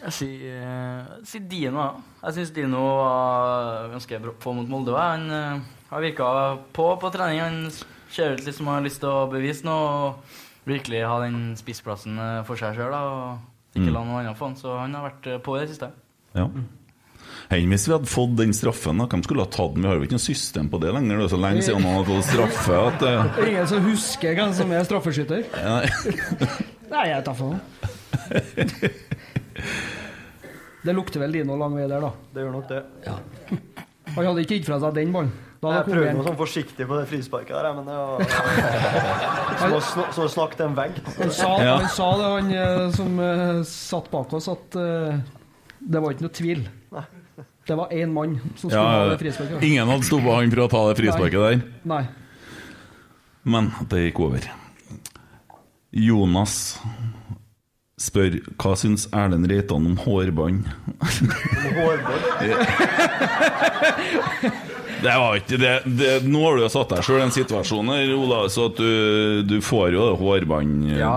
I: Jeg sier, jeg sier Dino. ja. Jeg syns Dino var ganske bra på mot Molde. ja. Han, eh, han virka på på trening. Han ser ut litt som han har lyst til å bevise noe og virkelig ha den spissplassen eh, for seg sjøl. Og ikke
C: Mm.
I: la noen andre få den. Så han har vært eh, på i det siste.
C: Ja.
G: Mm.
C: Enn hvis vi hadde fått den straffen, da? Hvem skulle ha tatt den? Vi har jo ikke noe system på det lenger. Det er så lenge siden man har fått straffe at eh,
E: Ingen som husker hvem som er
C: *laughs*
E: straffeskytter? Nei, jeg tar for meg. Det lukter vel Dino lang vei der, da.
G: Det gjør nok det.
E: Han hadde ikke gitt fra seg den ballen. Da
G: Jeg
E: hadde
G: prøvde noe
E: kommet
G: sånn forsiktig på det frisparket der, jeg, men det var Som å sn- Som å snakke til en vegg.
E: Han sa, han sa det, han eh, som eh, satt bak oss, at eh, det var ikke noe tvil. Det var én mann som skulle ha
C: ja, eh,
E: det frisparket.
C: Ingen hadde stoppa han for å ta det frisparket der.
E: Nei.
C: Men det gikk over. Jonas spør hva syns Erlend Reitan om hårbånd. *laughs* Det var ikke det, det Nå har du jo satt deg sjøl i en situasjon her, Ola, så at du, du får jo det hårbånd
G: Jeg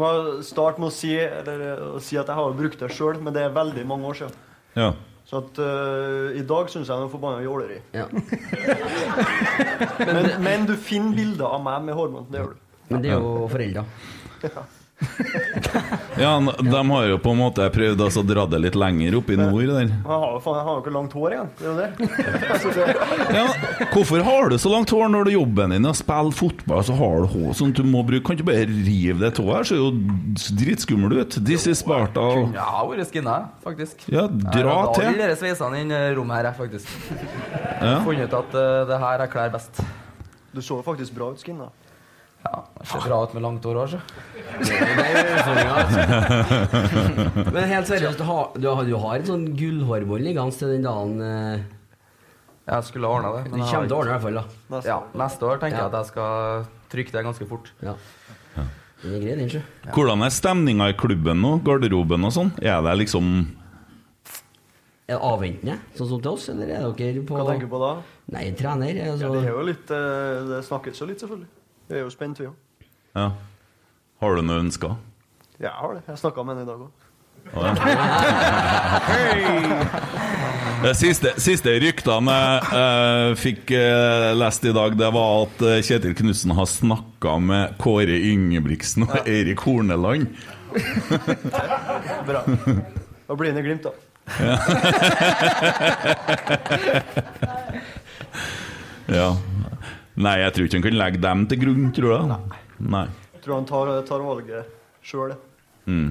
G: må starte med å si, eller, eh, å si at jeg har jo brukt det sjøl, men det er veldig mange år siden.
C: Ja.
G: Så at eh, i dag syns jeg det er forbanna jåleri. *laughs* men, men du finner bilder av meg med hårbånd. Det gjør du.
D: Men det er jo
G: *laughs*
D: foreldre.
C: Ja, n- de har jo på en måte prøvd altså, å dra det litt lenger opp i nord der.
G: Men Jeg har jo faen, jeg har jo ikke langt hår igjen. Det er jo det. Altså, det-
C: Hvorfor har du så langt hår når du jobben din er å spille fotball, så har du hår sånn du må bruke? Kan du ikke bare rive det tåa her, så er jo dritskummel ut? This is Sparta. og-
H: Ja, jeg har vært skinna, faktisk.
C: Ja, dra til.
H: Jeg har alle de sveisene i denne rommet her, jeg, faktisk.
C: Ja.
H: Funnet ut at eh, det her jeg klær best.
G: Du så jo faktisk bra ut skinna.
H: Jeg ser bra ut med langt hår òg,
D: altså.
C: *laughs*
D: Men helt seriøst, du har, du har, du har en sånn gullhårbånd liggende til den dagen
H: Jeg skulle ha ordna det.
D: Du kommer til å ordne det i hvert fall, da.
H: Neste, ja, neste år tenker jeg at jeg skal trykke det ganske fort.
D: Ja. Det er greit, den, sjø.
C: Hvordan er stemninga i klubben nå? Garderoben og sånn? Er det liksom
D: Er det avventende, sånn som til oss, eller er dere på
G: Hva tenker du på da?
D: Nei, trener. Altså.
G: Ja, det er jo litt eh, Det snakkes jo litt, selvfølgelig. Vi er jo spent, vi òg.
C: Ja. Har du noe ønsker?
G: Ja, jeg har det. Jeg snakka med henne i dag òg.
C: Å, ja.
G: *laughs*
C: Det siste, siste ryktene jeg fikk eh, lest i dag, det var at eh, Kjetil Knutsen har snakka med Kåre Ingebrigtsen og Eirik Horneland.
G: Bra. Da blir det Glimt, da.
C: Ja. *laughs* ja. Nei, jeg tror ikke han kan legge dem til grunn, tror jeg. Nei.
G: Jeg tror han tar, tar valget sjøl.
C: Mm.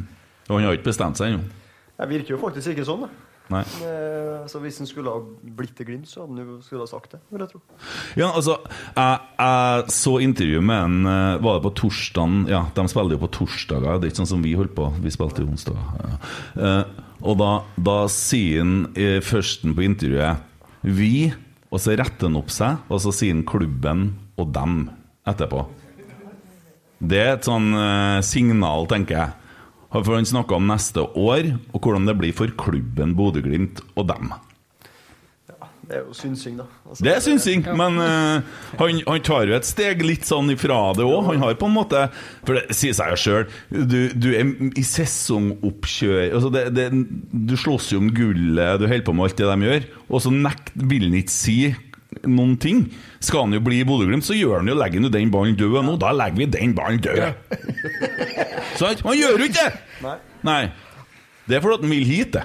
C: Og han har ikke bestemt seg ennå.
G: Jeg virker jo faktisk ikke sånn, da.
C: Nei.
G: Men, eh, så hvis han skulle ha blitt til Glimt, så hadde han jo skulle ha sagt det, vil jeg tro.
C: Ja, altså, jeg, jeg så intervju med en eh, Var det på torsdagen? Ja, de spiller jo på torsdager. Det er ikke sånn som vi holdt på. Vi spilte jo onsdag. Ja. Eh, og da, da sier han eh, førsten på intervjuet 'vi', og så retter han opp seg, og så sier han 'klubben' og 'dem' etterpå. Det er et sånn eh, signal, tenker jeg. Han- For han snakka om neste år, og hvordan det blir for klubben Bodø-Glimt og dem.
G: Det er jo synsing, da. Altså,
C: Det er synsing, men eh, han, han tar jo et steg litt sånn ifra det òg. Han har på en måte For det sier seg jo sjøl, du, du er i sesongoppkjør altså det, det, Du slåss jo om gullet, du holder på med alt det de gjør, og så nekt, vil han ikke si noen ting. Skal han jo bli i Bodø-Glimt, så gjør han jo, legger han jo den ballen død. Nå, da legger vi den ballen død! *laughs* Sant? Han gjør jo ikke det!
G: Nei.
C: Nei. Det er fordi at han vil hit, det.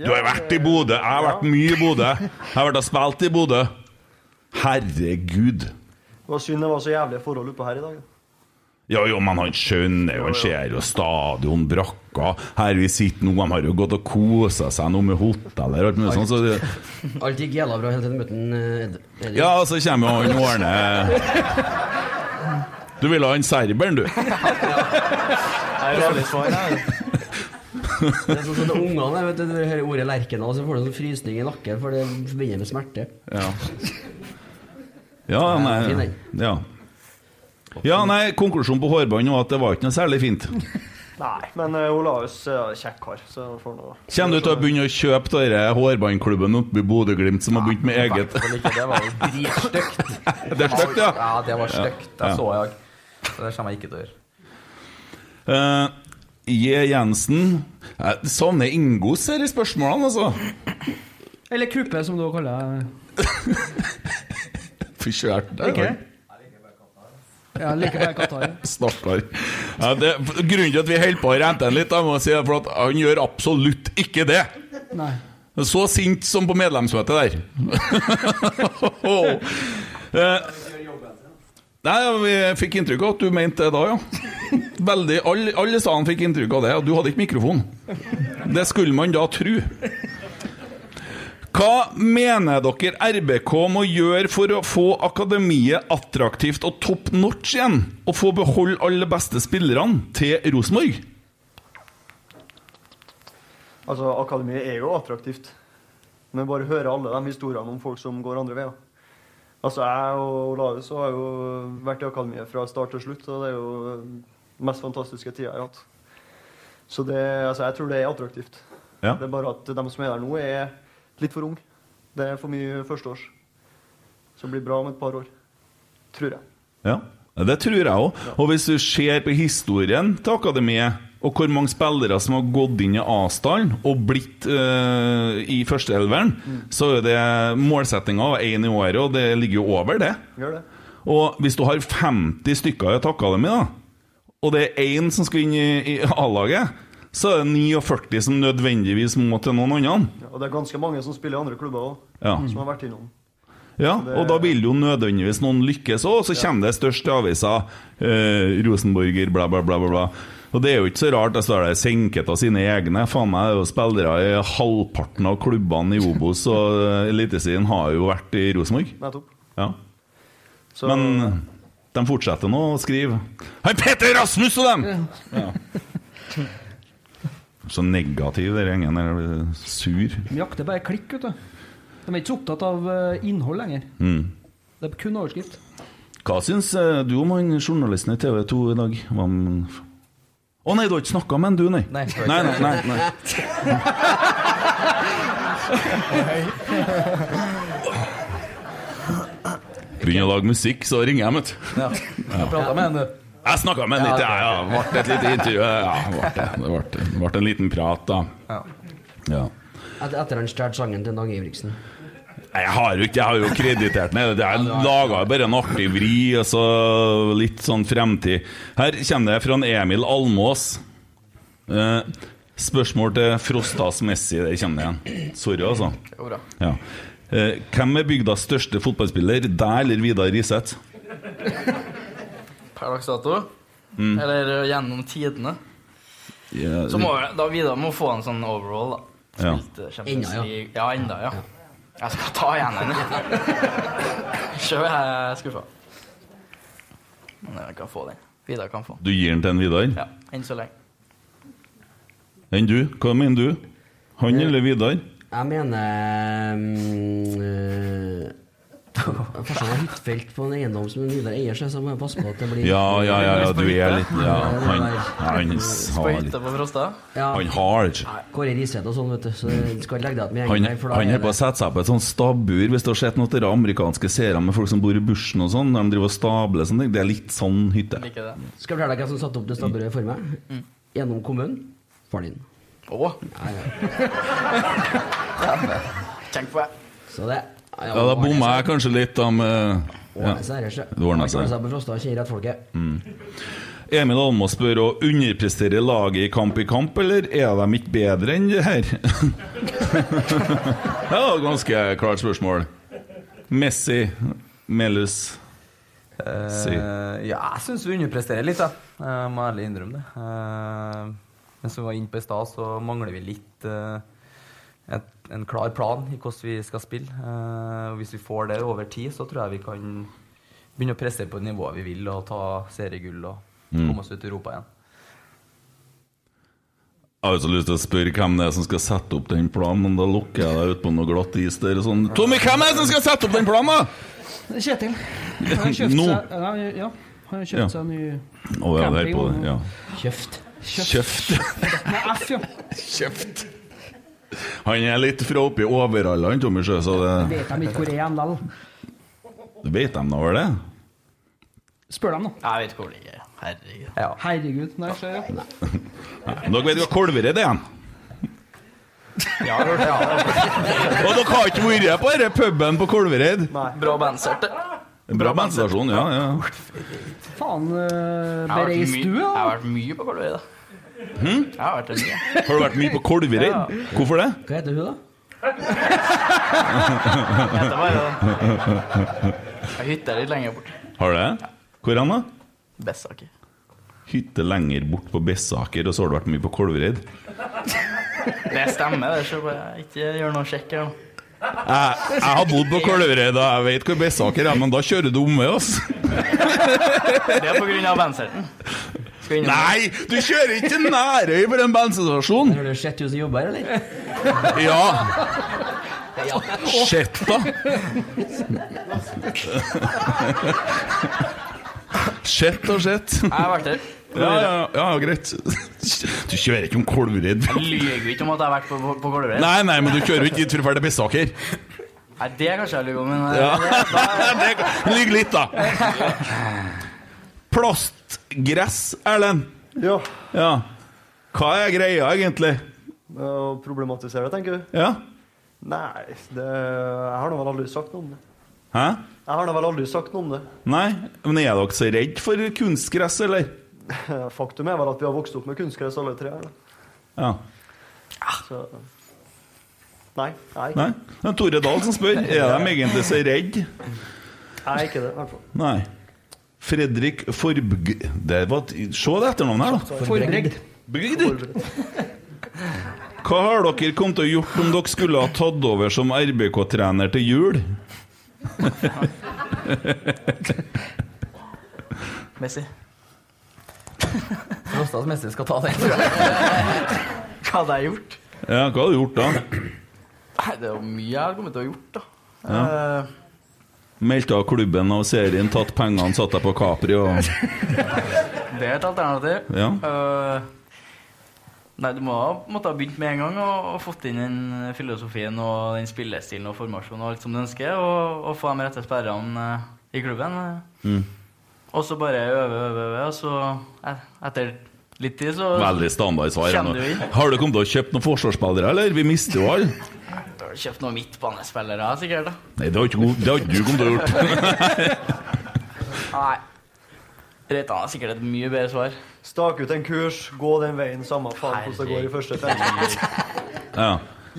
C: Du har vært i Bodø. Jeg har vært mye i Bodø.
D: *laughs*
C: Jeg har vært og spilt i Bodø. Herregud.
G: Det var synd det var så jævlige forhold oppå her i dag. da.
C: Jo, jo, men han skjønner jo, han ser jo stadion, brakka Her vi sitter nå, de har jo gått og kosa seg nå med hotell og alt mulig sånt, så det-
D: Alt gikk jævla bra helt til du møtte en, eh, Ed- Edvin.
C: Ja, så kommer jo han Årne Du vil ha han serberen, du.
G: Jeg er veldig svar, jeg.
D: Det er sånn som det er ungene der, vet du, når du hører ordet Lerkendal, så får du en sånn frysning i nakken, for det forbinder med smerte.
C: Ja. Ja,
D: Fin
C: nei
D: den.
C: Ja. Ja, nei, Konklusjonen på hårbånd var at det var ikke noe særlig fint.
G: Nei, men eh, Olaus er kjekk kar, så får nå
C: Kommer du til å begynne å kjøpe denne hårbåndklubben oppe i Bodø-Glimt som har begynt med eget?
H: Hvertfall ikke, Det var jo dritstygt.
C: *laughs* Det er stygt, ja.
H: Ja, det var
C: Ja,
H: stygt. Det
C: ja.
H: så jeg. Så det kommer jeg ikke til å gjøre.
C: *laughs* Eh, J. Jensen Jeg savner Ingos her i spørsmålene, altså.
E: Eller kuppe, som du kaller det.
C: Fy kjært. det er
E: Ikke
C: jo-
E: det? Ja, liker bare Qatar. ja.
C: *laughs* Stakkar. Ja, det, grunnen til at vi holder på å rente han litt, da, må jeg si, er for at han gjør absolutt ikke det.
E: Nei.
C: Så sint som på medlemsmøtet der. Eh, Nei, Vi fikk inntrykk av at du mente det da, ja. Veldig, Alle, alle sa han fikk inntrykk av det, og du hadde ikke mikrofon. Det skulle man da tru. Hva mener dere RBK må gjøre for å få akademiet attraktivt og top notch igjen? Og få beholde alle beste spillerne til Rosenborg?
G: Altså, akademiet er jo attraktivt. Men bare høre alle de historiene om folk som går andre veier. Altså, jeg og Olaus har jo vært i akademiet fra start til slutt, og det er jo den mest fantastiske tida jeg har hatt. Så det, altså, jeg tror det er attraktivt.
C: Ja.
G: Det er bare at de som er der nå, er litt for unge. Det er for mye førsteårs. Så det blir bra om et par år. Tror jeg.
C: Ja, det tror jeg òg. Og hvis du ser på historien til akademiet, og hvor mange spillere som har gått inn i Asdalen og blitt eh, i førsteelveren, så er det målsettinga én i året, og det ligger jo over det.
G: Gjør det.
C: Og hvis du har 50 stykker i et akademi, da, og det er én som skal inn i, i A-laget, så er det 49 som nødvendigvis må til noen andre.
G: Ja, og det er ganske mange som spiller i andre klubber òg,
C: Ja.
G: som har vært innom.
C: Ja, og da vil jo nødvendigvis noen lykkes òg, og så kommer det størst i avisa eh, Rosenborger, bla, bla, bla, bla, bla. Og det er jo ikke så rart. Jeg står der senket av sine egne. Faen meg, det er jo spillere i halvparten av klubbene i Obos og eh, Eliteserien har jo vært i Rosenborg.
G: Nettopp.
C: Ja. Men de fortsetter nå å skrive. Hei, Petter Rasmus og dem! Ja. *laughs* Så negativ den gjengen der. Jeg blir Sur.
E: De jakter bare klikk, vet du. De er ikke så opptatt av eh, innhold lenger.
C: Mm.
E: Det er kun overskrift.
C: Hva syns eh, du om han journalisten i TV 2 i dag? Hva om- Å nei, du har ikke snakka med han, du, nei? Nei,
B: har ikke.
C: nei, nei, nei. Begynner å lage musikk, så ringer jeg, vet du. Ja.
H: Prata med henne.
C: Jeg snakka med han litt, ja. ja. Ble et lite intervju. Ja, ble det. Det ble, det ble en liten prat, da. Ja.
D: Et, etter han stjal sangen til Dag Ivriksen.
C: Nei, Jeg har jo ikke, jeg har jo kreditert den. hele tiden. Jeg laga bare en artig vri, og så litt sånn fremtid. Her kommer det fra en Emil Almås. Eh, spørsmål til Frostas Messi. Der kommer det igjen. Sorry, altså.
I: Jo bra.
C: Ja. Eh, hvem er bygdas største fotballspiller? Deg eller Vidar Riseth?
I: Per dags dato.
C: Mm.
I: Eller eh, gjennom tidene.
C: Ja,
I: Så må jeg, da Vidar må få en sånn overall, da.
C: ja.
I: Spilte Champions
D: Enda, ja.
I: League. Ja, enda, ja. Jeg skal ta igjen *laughs* den. Sjøl er jeg skuffa. Men jeg kan få den. Vidar kan få den.
C: Du gir den til en Vidar?
I: Ja, enn så lenge.
C: Enn du? Hva mener du? Han
I: Mm.
C: eller Vidar?
D: Jeg mener um, Farsan har hyttefelt på en eiendom som Vidar eier seg, så må jeg passe på at det blir
C: Ja, ja, ja, ja, du er litt Ja, han, han har litt
D: på
I: Frosta?
D: Ja.
C: Han har
D: Kåre Riseth og sånn, vet du, så du skal ikke legge deg igjen med
C: Han,
D: gjengen her, for da
C: han
D: er
C: er på å sette seg på et sånt stabbur. Hvis du har sett noen av de amerikanske seere med folk som bor i bushen og sånn, der de driver og stabler sånne ting, det er litt sånn hytte.
I: Liker det.
D: det Skal jeg fortelle deg hvem som satte opp det stabburet for meg? Gjennom kommunen? Faren din.
I: Å?
D: Ja, ja.
I: *laughs* Tenk på det.
D: Så det
C: Ja, da bomma jeg kanskje litt, da med ja.
D: Ordna seg, Rersje.
C: Det ordna seg.
D: på Frosta og kjenner rett folket.
C: Mm. Emil Almås spør om underpresterer laget i kamp i kamp, eller er de ikke bedre enn det her? *laughs* det var et ganske klart spørsmål. Messi, Melus Si.
H: Eh, ja, jeg syns vi underpresterer litt, jeg. jeg må ærlig innrømme det. Eh, men som vi var inne på i stad, så mangler vi litt eh, et, en klar plan i hvordan vi skal spille. Eh, og hvis vi får det over tid, så tror jeg vi kan begynne å presse på nivået vi vil, og ta seriegull og
C: Mm.
H: komme oss ut i Europa igjen.
C: Jeg har jo så lyst til å spørre hvem det er som skal sette opp den planen, men da lukker jeg deg ut på noe glatt is der og sånn. Tommy, hvem er det som skal sette opp den planen, da?!
E: Kjetil. Han har kjøpt
C: Nå.
E: seg, ja, ja, han har kjøpt
C: Ja.
E: seg en ny
C: Å ja, det er på det. Ja.
D: Kjøft.
C: Kjøft. *laughs*
E: Med F, ja.
C: Kjøft. Han er litt fra oppi overalla, han Tommy Sjø, så det
E: Vet de ikke hvor jeg er likevel?
C: Vet de nå over det?
E: Spør dem, da.
I: Jeg vet ikke hvor det er. Herregud.
E: Herregud. Nei, skjer, ja.
C: Nei, men Dere vet hva kolveret er? igjen.
I: Ja, jeg hørte
C: Og dere har ikke vært på denne puben på Kolvereid?
I: Bra bandserte.
C: Bra bandstasjon, ja. ja.
E: *laughs* Faen, uh,
I: Jeg har vært
E: bereist
I: mye-
E: du,
I: Jeg har
E: da?
I: vært mye på Kolvereid, da.
C: Hm?
I: Jeg har vært det mye.
C: Har du vært mye på Kolvereid?
I: Ja.
C: Hvorfor det?
D: Hva heter hun, da?
I: Dette var jo Jeg hytta litt lenger bort.
C: *laughs* Har du det? Hvor hen, da?
I: Bessaker.
C: Hytte lenger bort på Bessaker, og så har du vært mye på Kolvereid?
I: Det stemmer, det. Så bare ikke gjør noe sjekk her nå.
C: Jeg, jeg har bodd på Kolvereid, og jeg vet hvor Bessaker er, men da kjører du omvei, altså.
I: Det er på grunn av bandserten.
C: Nei, du kjører ikke til Nærøy for en bensinstasjon!
D: Har du sett hun som jobber her, eller?
C: Ja!
D: Ja.
C: Shit, da! Shit og shit. Jeg
I: har vært der.
C: Ja, ja, ja, greit. Du kjører ikke om Kolvereid?
I: Jeg lyver jo ikke om at jeg har vært på, på, på Kolvereid.
C: Nei, nei, men du kjører jo ikke dit for å dra til Bessaker.
I: Nei, det kanskje jeg lyver om, men eh,
C: Ja.
I: det,
C: det, *laughs* Ligg litt, da. Plastgress, Erlend.
G: Ja.
C: Hva er greia, egentlig?
G: Med Å problematisere det, tenker du?
C: Ja.
G: Nei, det, jeg har nå vel aldri sagt noe om det.
C: Hæ?
G: Jeg har nå vel aldri sagt noe om det.
C: Nei, men er dere så redd for kunstgress, eller?
G: *laughs* Faktum er vel at vi har vokst opp med kunstgress alle tre her, da.
C: Ja.
G: Så Nei, jeg er ikke
C: Nei? Det er Tore Dahl som spør. Er de egentlig så redd?
G: Jeg er ikke det, i hvert fall.
C: Nei. Fredrik Forbg... Det var et... Se det etternavnet her, da.
E: Forbregd.
C: Bygd. Hva har dere kommet til å gjort om dere skulle ha tatt over som RBK-trener til jul? *laughs*
I: Messi.
H: *laughs* Rostas mester skal ta den, tror jeg.
I: Hva hadde jeg gjort?
C: Ja, hva har du gjort da?
I: Nei, det er jo mye jeg har kommet til å ha gjort, da.
C: Ja.
G: Eh.
C: Meldt av klubben og serien, tatt pengene, satt deg på Capri
G: *laughs*
C: og
I: Det er et alternativ.
C: Ja.
I: Eh, nei, du må ha på en måte ha begynt med en gang og, og fått inn den filosofien og den spillestilen og formasjonen og alt som du ønsker, og, og få de rette sperrene eh, i klubben.
C: Mm.
I: Og så bare øve, øve, øve, og så et- etter litt tid så
C: Veldig standard svar.
I: Kjenner du inn?
C: Nå. Har du kommet til å kjøpe noen forsvarsspillere, eller? Vi mister jo alle.
I: Da har du kjøpt noen midtbanespillere, sikkert. da.
C: Nei, det har ikke, det har ikke du kommet til å gjort.
G: *laughs*
I: Nei. Reitan har sikkert et mye bedre svar.
G: Stak ut en kurs, gå den veien, samme faen hvordan det går i første trening.
C: ja.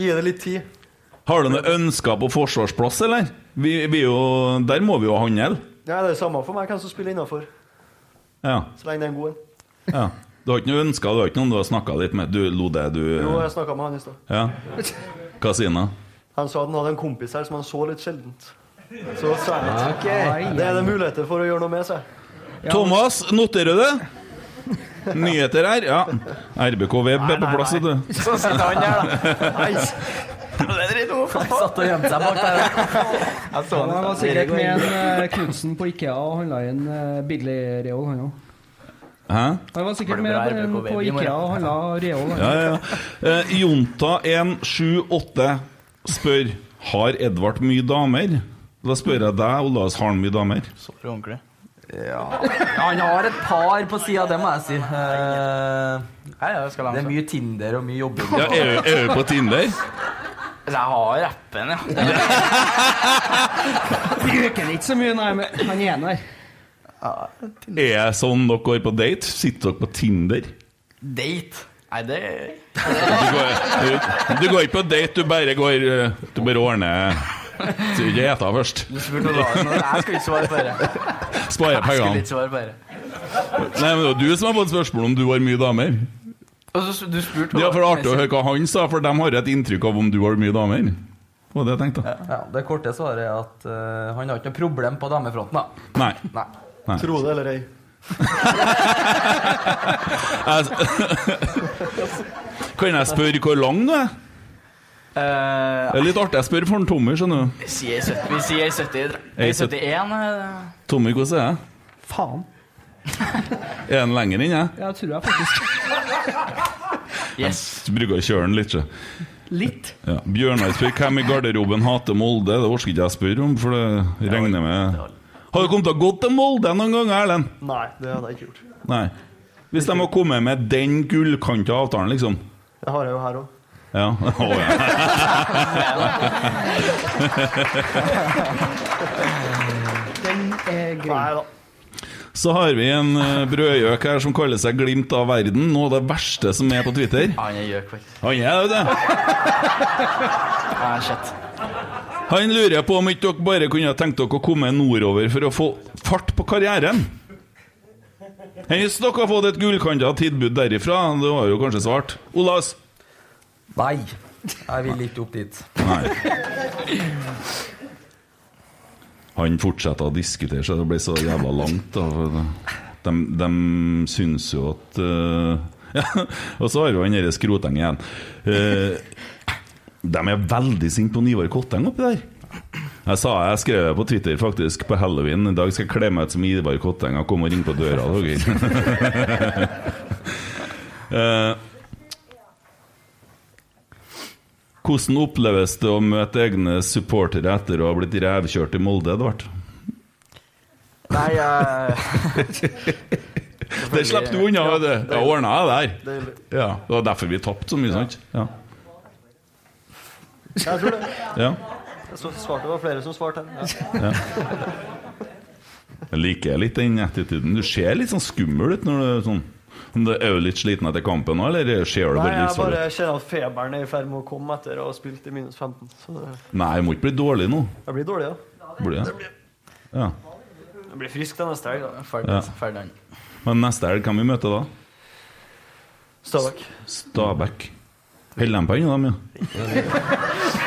G: Gi det litt tid.
C: Har du noen ønsker på forsvarsplass, eller? Vi, vi er jo, der må vi jo handle.
G: Ja, det er samme for meg hvem som spiller innafor,
C: Ja.
G: så lenge det er en god en.
C: ja. Du har ikke noen ønsker, du har ikke noen du har snakka litt med? Du lo det, du
G: Jo, jeg snakka med han i stad.
C: Ja. Hva sier han da?
G: Han sa at han hadde en kompis her som han så litt sjeldent. Så sa jeg at
C: Ah, Ok.
G: det er det muligheter for å gjøre noe med seg.
C: Thomas, noterer du det? Nyheter her? Ja. RBKVB er på plass, vet du.
I: Så sitter han der, da.
G: Nei.
I: *laughs* Det er dritt
H: Han satt og gjemte seg bak der.
I: Jeg
E: Han var sikkert med en eh, Knutsen på Ikea og handla en eh, billig reol, han òg.
C: Hæ?
E: Han var sikkert
C: Blir
E: med
C: det
E: på,
C: bra
E: en-
C: RBK
E: på
C: baby i morgen?
E: Ikea og handla reol.
C: Ja, ja, ja. Eh, Jonta178 spør Har Edvard mye damer. Da spør jeg deg, Olaus, har han mye damer?
I: Svarer ordentlig.
H: Ja. Han har et par på sida, det må jeg si. Eh, det er mye Tinder og mye jobbing.
C: Ja, er du- er du på Tinder?
I: Jeg har appen, ja.
E: Bruker den ikke så mye, nei, men han ene der.
C: Er jeg sånn dere går på date? Sitter dere på Tinder?
I: Date? Nei, det
C: Du går, du, du går ikke på date, du bare går eh, Du bare ordner Du ikke eter først.
I: Du spurte Lars nå. Jeg skal ikke svare på det.
C: Sparer
I: Jeg skulle
C: pengene.
I: ikke svare på det.
C: Nei, men det var du som har fått spørsmål om du har mye damer.
I: Og så du spurte
C: Ja, for det er artig å høre hva han sa, for de har et inntrykk av om du har mye damer. Det var det jeg tenkte.
H: Ja, det korte svaret er at eh, han har ikke noe problem på damefronten, da.
C: Nei.
H: Nei.
C: Nei.
G: Tro det eller ei.
C: Jeg- Kan jeg spørre hvor lang du er?
I: Eh,
C: Det er litt artig. Jeg spør for en Tommy, skjønner du.
I: Vi sier 70, vi sier
C: Jeg
I: 70
C: er
I: 71. eh,
C: Tommy, hvordan er jeg?
E: Faen.
C: Er den lenger inn, jeg?
E: Jeg tror jeg faktisk
C: Jeg bruker å kjøre den litt, så.
E: Litt.
C: Ja. Bjørnar spør hvem i garderoben hater Molde. Det orker ikke jeg spørre om, for det regner med Har du kommet til å gå til Molde noen gang, Erlend?
G: Nei, det hadde jeg ikke gjort.
C: Nei. Hvis de har kommet med den gullkanta avtalen, liksom.
G: Det har jeg jo her òg.
C: Ja. *laughs* Å, ja.
G: *laughs* Den er grei. Nei da.
C: Så har vi en eh, brødgjøk her som kaller seg Glimt av verden. Noe av det verste som er på Twitter.
I: Han er gjøk, faktisk.
C: Han er jo det.
I: Nei, shit.
C: Han lurer på om ikke dere bare kunne ha tenkt dere å komme nordover for å få fart på karrieren. Hvis dere har fått et gullkanta tilbud derifra, det var jo kanskje svart. Olas?
H: Nei. Jeg vil ikke opp dit.
C: Han fortsetter å diskutere seg, det ble så jævla langt. Da. for De, de syns jo at eh, *laughs* ja, Og så har vi han derre skrotengen igjen. Eh, de er veldig sinte på Ivar Kotteng oppi der. Jeg sa jeg skrev det på Twitter faktisk på halloween. I dag skal jeg kle meg ut som Ivar Kotteng og komme og ringe på døra. dere. *laughs* Eh, Hvordan oppleves det å møte egne supportere etter å ha blitt revkjørt i Molde, Edvard?
I: Nei, jeg
C: *laughs* Det slapp du unna, vet du. Det ordna jeg der.
I: Deilig.
C: Ja, det var derfor vi tapte så mye, sant? Ja.
G: Jeg tror det.
C: Ja.
G: Jeg så- svarte, det var flere som svarte her.
C: Ja. Jeg liker litt den attituden. Du ser litt sånn skummel ut når du er sånn Om du er jo litt sliten etter kampen nå, eller ser du
G: Nei,
C: bare
G: jeg
C: litt sånn
G: bare
C: ut?
G: kjenner at feberen er i ferd med å komme etter å ha spilt i minus 15. Så det-
C: Nei, jeg må ikke bli dårlig nå.
G: jeg blir dårlig, da.
C: Blir
G: Det
C: jeg? Ja.
G: Jeg blir frisk til neste helg. da.
C: Ja. Men neste helg kan vi møte da?
G: Stabæk.
C: Stabæk. Holder de på ennå, dem, ja?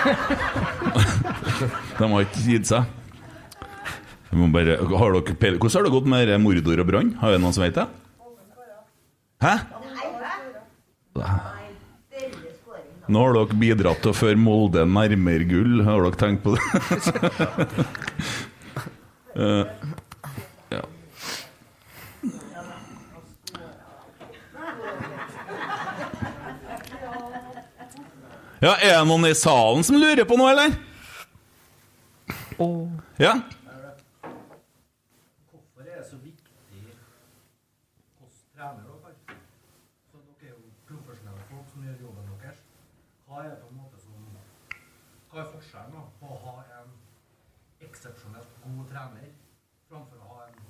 C: *laughs* De har ikke gitt seg. Vi må bare, har dere peil- Hvordan har det gått med mordor og brann? Har det noen som vet det? Hæ? Nå har dere bidratt til å føre Molde nærmere gull. Har dere tenkt på det? Eh, ja. ja, er det noen i salen som lurer på noe, eller? Ja?
B: Hva er forskjellen da, på å ha en eksepsjonelt god trener framfor å ha en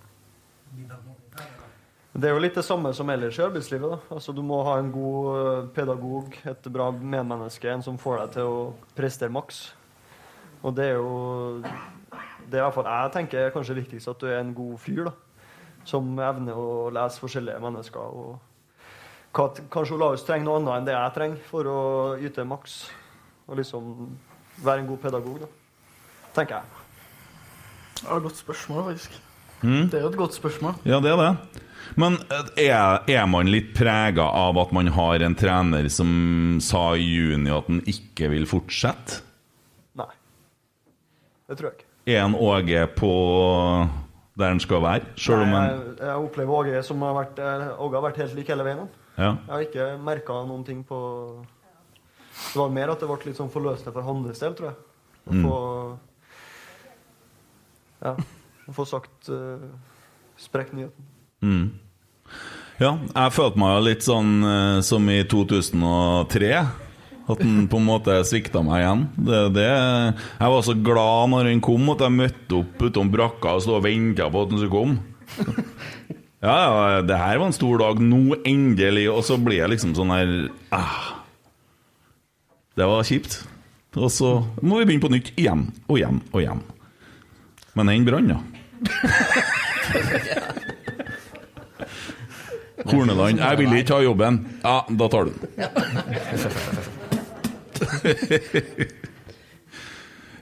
B: middelmådig trener?
G: Det er jo litt det samme som ellers i arbeidslivet. da. Altså, Du må ha en god eh, pedagog, et bra medmenneske, en som får deg til å prestere maks. Og det er jo Det er i hvert fall jeg tenker er kanskje viktigst, at du er en god fyr. da. Som evner å lese forskjellige mennesker. og hva, t- Kanskje Olaus trenger noe annet enn det jeg trenger for å yte maks. Og liksom være en god pedagog, da. Tenker jeg.
I: Det var et godt spørsmål, faktisk.
C: Mm.
I: Det er jo et godt spørsmål.
C: Ja, det er det. Men eh, er, er man litt prega av at man har en trener som sa i juni at han ikke vil fortsette?
G: Det tror jeg ikke.
C: Er han Åge på der han skal være? Sjøl om han
G: Jeg, jeg opplever Åge som har vært, eh, Åge har vært helt lik hele veien. han.
C: Ja.
G: Jeg har ikke merka noen ting på Det var mer at det ble litt sånn forløsende for hans del, tror jeg. Å
C: Mm.
G: få Ja. Å få sagt uh, sprekk nyheten.
C: mm. Ja, jeg følte meg jo litt sånn eh, som i 2003. At han på en måte svikta meg igjen. Det, det, jeg var så glad når han kom, at jeg møtte opp utom brakka og sto og venta på at han skulle komme. Ja, ja, det her var en stor dag. Nå endelig. Og så blir jeg liksom sånn her ah. Det var kjipt. Og så må vi begynne på nytt igjen og igjen og igjen. Men den brann, ja. Horneland, jeg vil ikke ha jobben. Ja, da tar du den.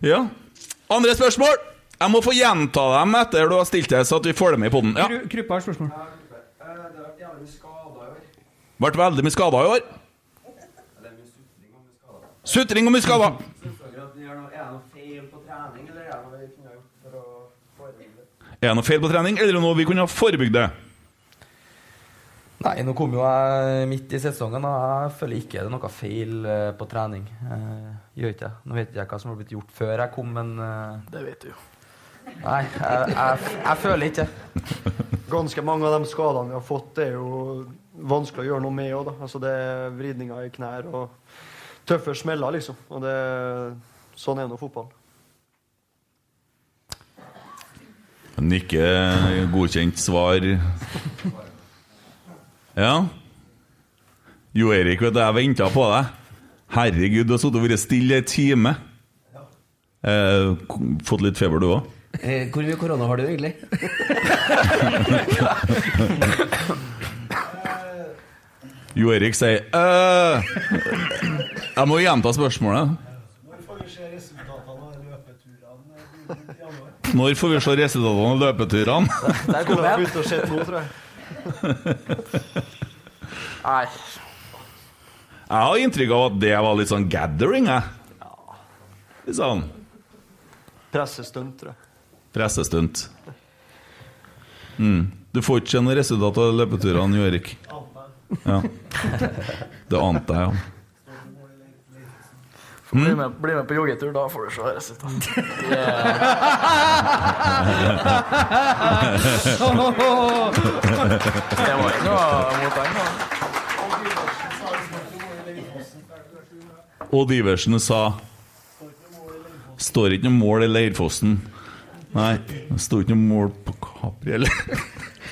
C: Ja. Andre spørsmål? Jeg må få gjenta dem etter du har stilt deg, så at vi får dem i poden. Ja.
E: Kru- Kruppe har et spørsmål.
C: Vært veldig mye skada i år. Sutring og mye skada. Er det noe feil på trening, eller er det noe vi kunne ha forebygd det?
H: Nei, nå kom jo jeg midt i sesongen, og jeg føler ikke det er noe feil eh, på trening. Eh, Gjør ikke det. Nå vet jeg ikke hva som har blitt gjort før jeg kom, men eh,
I: Det vet du
C: *laughs*
I: jo.
H: Nei, jeg, jeg, jeg føler ikke
G: *laughs* Ganske mange av de skadene vi har fått, det er jo vanskelig å gjøre noe med òg. Altså, det er vridninger i knær og tøffe smeller, liksom. Og det, sånn er nå fotballen.
C: Nikke godkjent svar. Ja? Jo Erik, vet du, jeg venta på deg. Herregud, du har sittet og vært stille i en time. Eh, k- fått litt feber, du òg?
D: Eh, Hvor mye korona har du egentlig?
C: Jo Erik sier «Øh, Jeg må gjenta spørsmålet. Når får vi se resultatene av løpeturene?
H: Der kom
G: Skulle ha
H: jeg.
G: begynt å se nå, tror jeg.
H: Nei.
C: Jeg har inntrykk av at det var litt sånn gathering, jeg. Litt sånn
G: Pressestunt, tror jeg.
C: pressestunt. Mm. Du får ikke se noe resultat av løpeturene, Jo Erik. Ja. Det ante jeg, ja.
I: Få Bli, med, bli med på joggetur, da får du se resultatet.
H: Det var ikke noe mot deg, da.
C: Odd Iversen sa Står ikke noe mål i Leirfossen. Nei, det sto ikke noe mål på Capri eller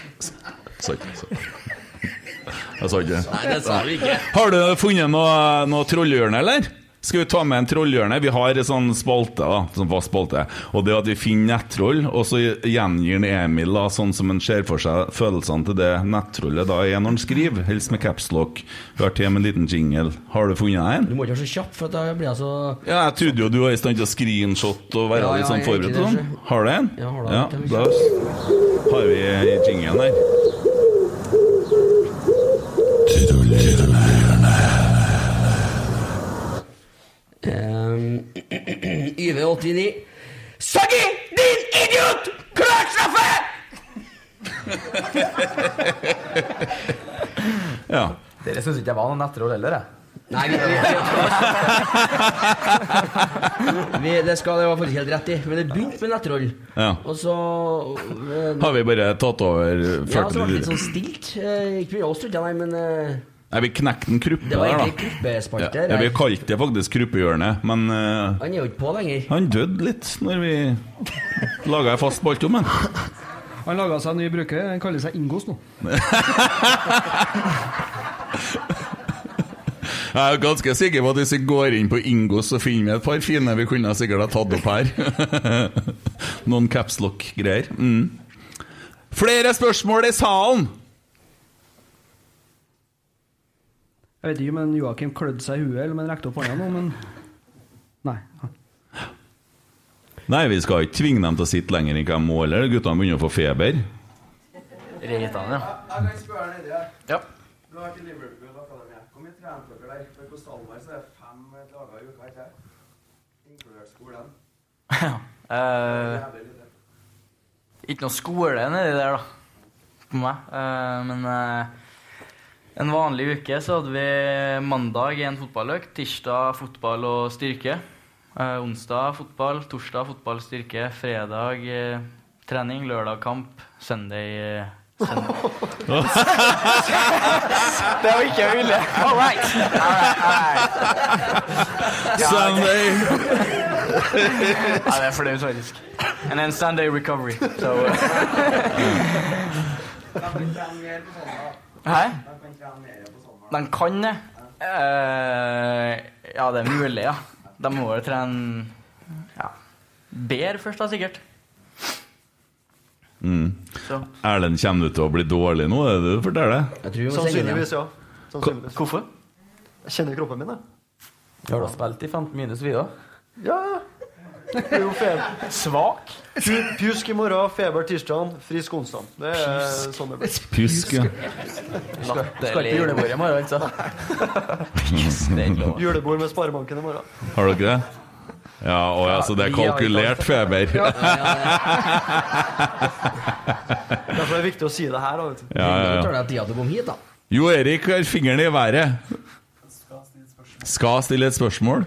C: *laughs* Sa ikke sa- Jeg sa ikke det.
F: Nei, det sa du ikke.
C: Har du funnet noe, noe trollhjørne, eller? Skal vi ta med en trollhjørne? Vi har en sånn spalte, da, sånn fast spalte. Og det at vi finner nettroll, og så gjengir han Emil da, sånn som han ser for seg følelsene til det nettrollet da er når han skriver, helst med capslock. Vi har til med en liten jingle. Har du funnet en?
D: Du må ikke være så kjapp, for at da blir jeg så *clears throat*
C: Ja, jeg trodde jo du var i stand til å screenshot og
D: Ja,
C: være
D: ja,
C: litt sånn
D: jeg er
C: forberedt.
D: ikke
C: og
D: det,
C: Sånn. Har du en?
D: Ja, har du
C: ja,
D: en?
C: da s- har vi jingelen her.
D: Um, YV89 Saggi, din idiot! Klart straffe!
C: Ja.
H: Dere syns ikke jeg var noen nettroll heller, jeg.
I: *laughs*
D: Nei, vi, vi, vi, det skal det var faktisk helt rett i. Men det begynte med nettroll.
C: Ja.
D: Og så eh,
C: Har vi bare tatt over
D: Ja, så
C: 40
D: ble det litt
C: minutter?
D: sånn stilt. Eh, Ikke mye av oss, tror jeg, nei, men eh,
C: Nei, vi knekte en kruppe
D: Det var
C: der, da.
D: egentlig kruppespalte,
C: Ja, ja, vi
D: nei.
C: kalte det faktisk kruppehjørnet, men eh,
D: han er jo ikke på lenger.
C: han døde litt når vi laga ei fast spalte om han.
E: Han laga seg en ny bruker. Han kaller seg Ingos nå.
C: *laughs* Jeg er ganske sikker på at hvis vi går inn på Ingo, så finner vi et par fine vi kunne sikkert ha tatt opp her. *laughs* Noen capslock-greier. Mm. Flere spørsmål i salen!
E: Jeg vet ikke om en Joakim klødde seg i huet, eller om han rekte opp hånda nå, men Nei.
C: Nei, vi skal ikke tvinge dem til å sitte lenger enn hva de må, eller guttene begynner å få feber.
I: Reitan, ja.
B: Jeg kan spørre deg det.
I: Ja.
B: Du har vært i Liverpool Akademiet. Hvor mye trener dere der? For på Stalberg så er det fem dager i uka, ikke sant? Inkludert skolen.
I: Eh, ikke noe skole nedi der, da. På meg. Eh, men eh, en vanlig uke så hadde vi mandag en fotballøk, tirsdag fotball og styrke. Eh, onsdag fotball, torsdag fotball, styrke, fredag eh, trening, lørdag kamp, søndag eh, søndag.
H: det var ikke jeg ville.
I: All right. All right, all right.
C: Sunday.
I: Nei, det er flaut, faktisk. And then Sunday recovery. So, uh, Hæ? De kan det. Eh, ja, det er mulig, ja. De må jo trene ja, bedre først, da, sikkert.
C: Mm.
I: Så.
C: Erlend, kommer du til å bli dårlig nå? Er det det du forteller?
D: Jeg tror vi må sende
G: Sannsynligvis, ja. Sannsynligvis.
I: Hvorfor?
G: Jeg kjenner kroppen min, jeg.
H: Vi har da spilt i 15 minus, vi òg.
G: Ja, ja. Det er jo feber.
I: Svak.
G: Pu- Pjusk i morgen, feber tirsdag, frisk onsdag. Det er sånn det blir.
C: Pjusk, ja.
G: Skal,
H: skal ikke julebord i morgen, altså.
I: *laughs*
G: Julebord med Sparebanken i morgen.
C: *laughs* Har dere det? Ja, å ja, så det er
G: vi har
C: kalkulert
G: ikke
C: feber.
G: alt. Ja,
C: *laughs*
D: *laughs*
G: Derfor er det viktig å si det her. Da, vet du.
C: Ja, ja, ja.
D: Vi tar deg tida til å komme hit, da.
C: Jo Erik har fingeren i været. Skal stille et spørsmål.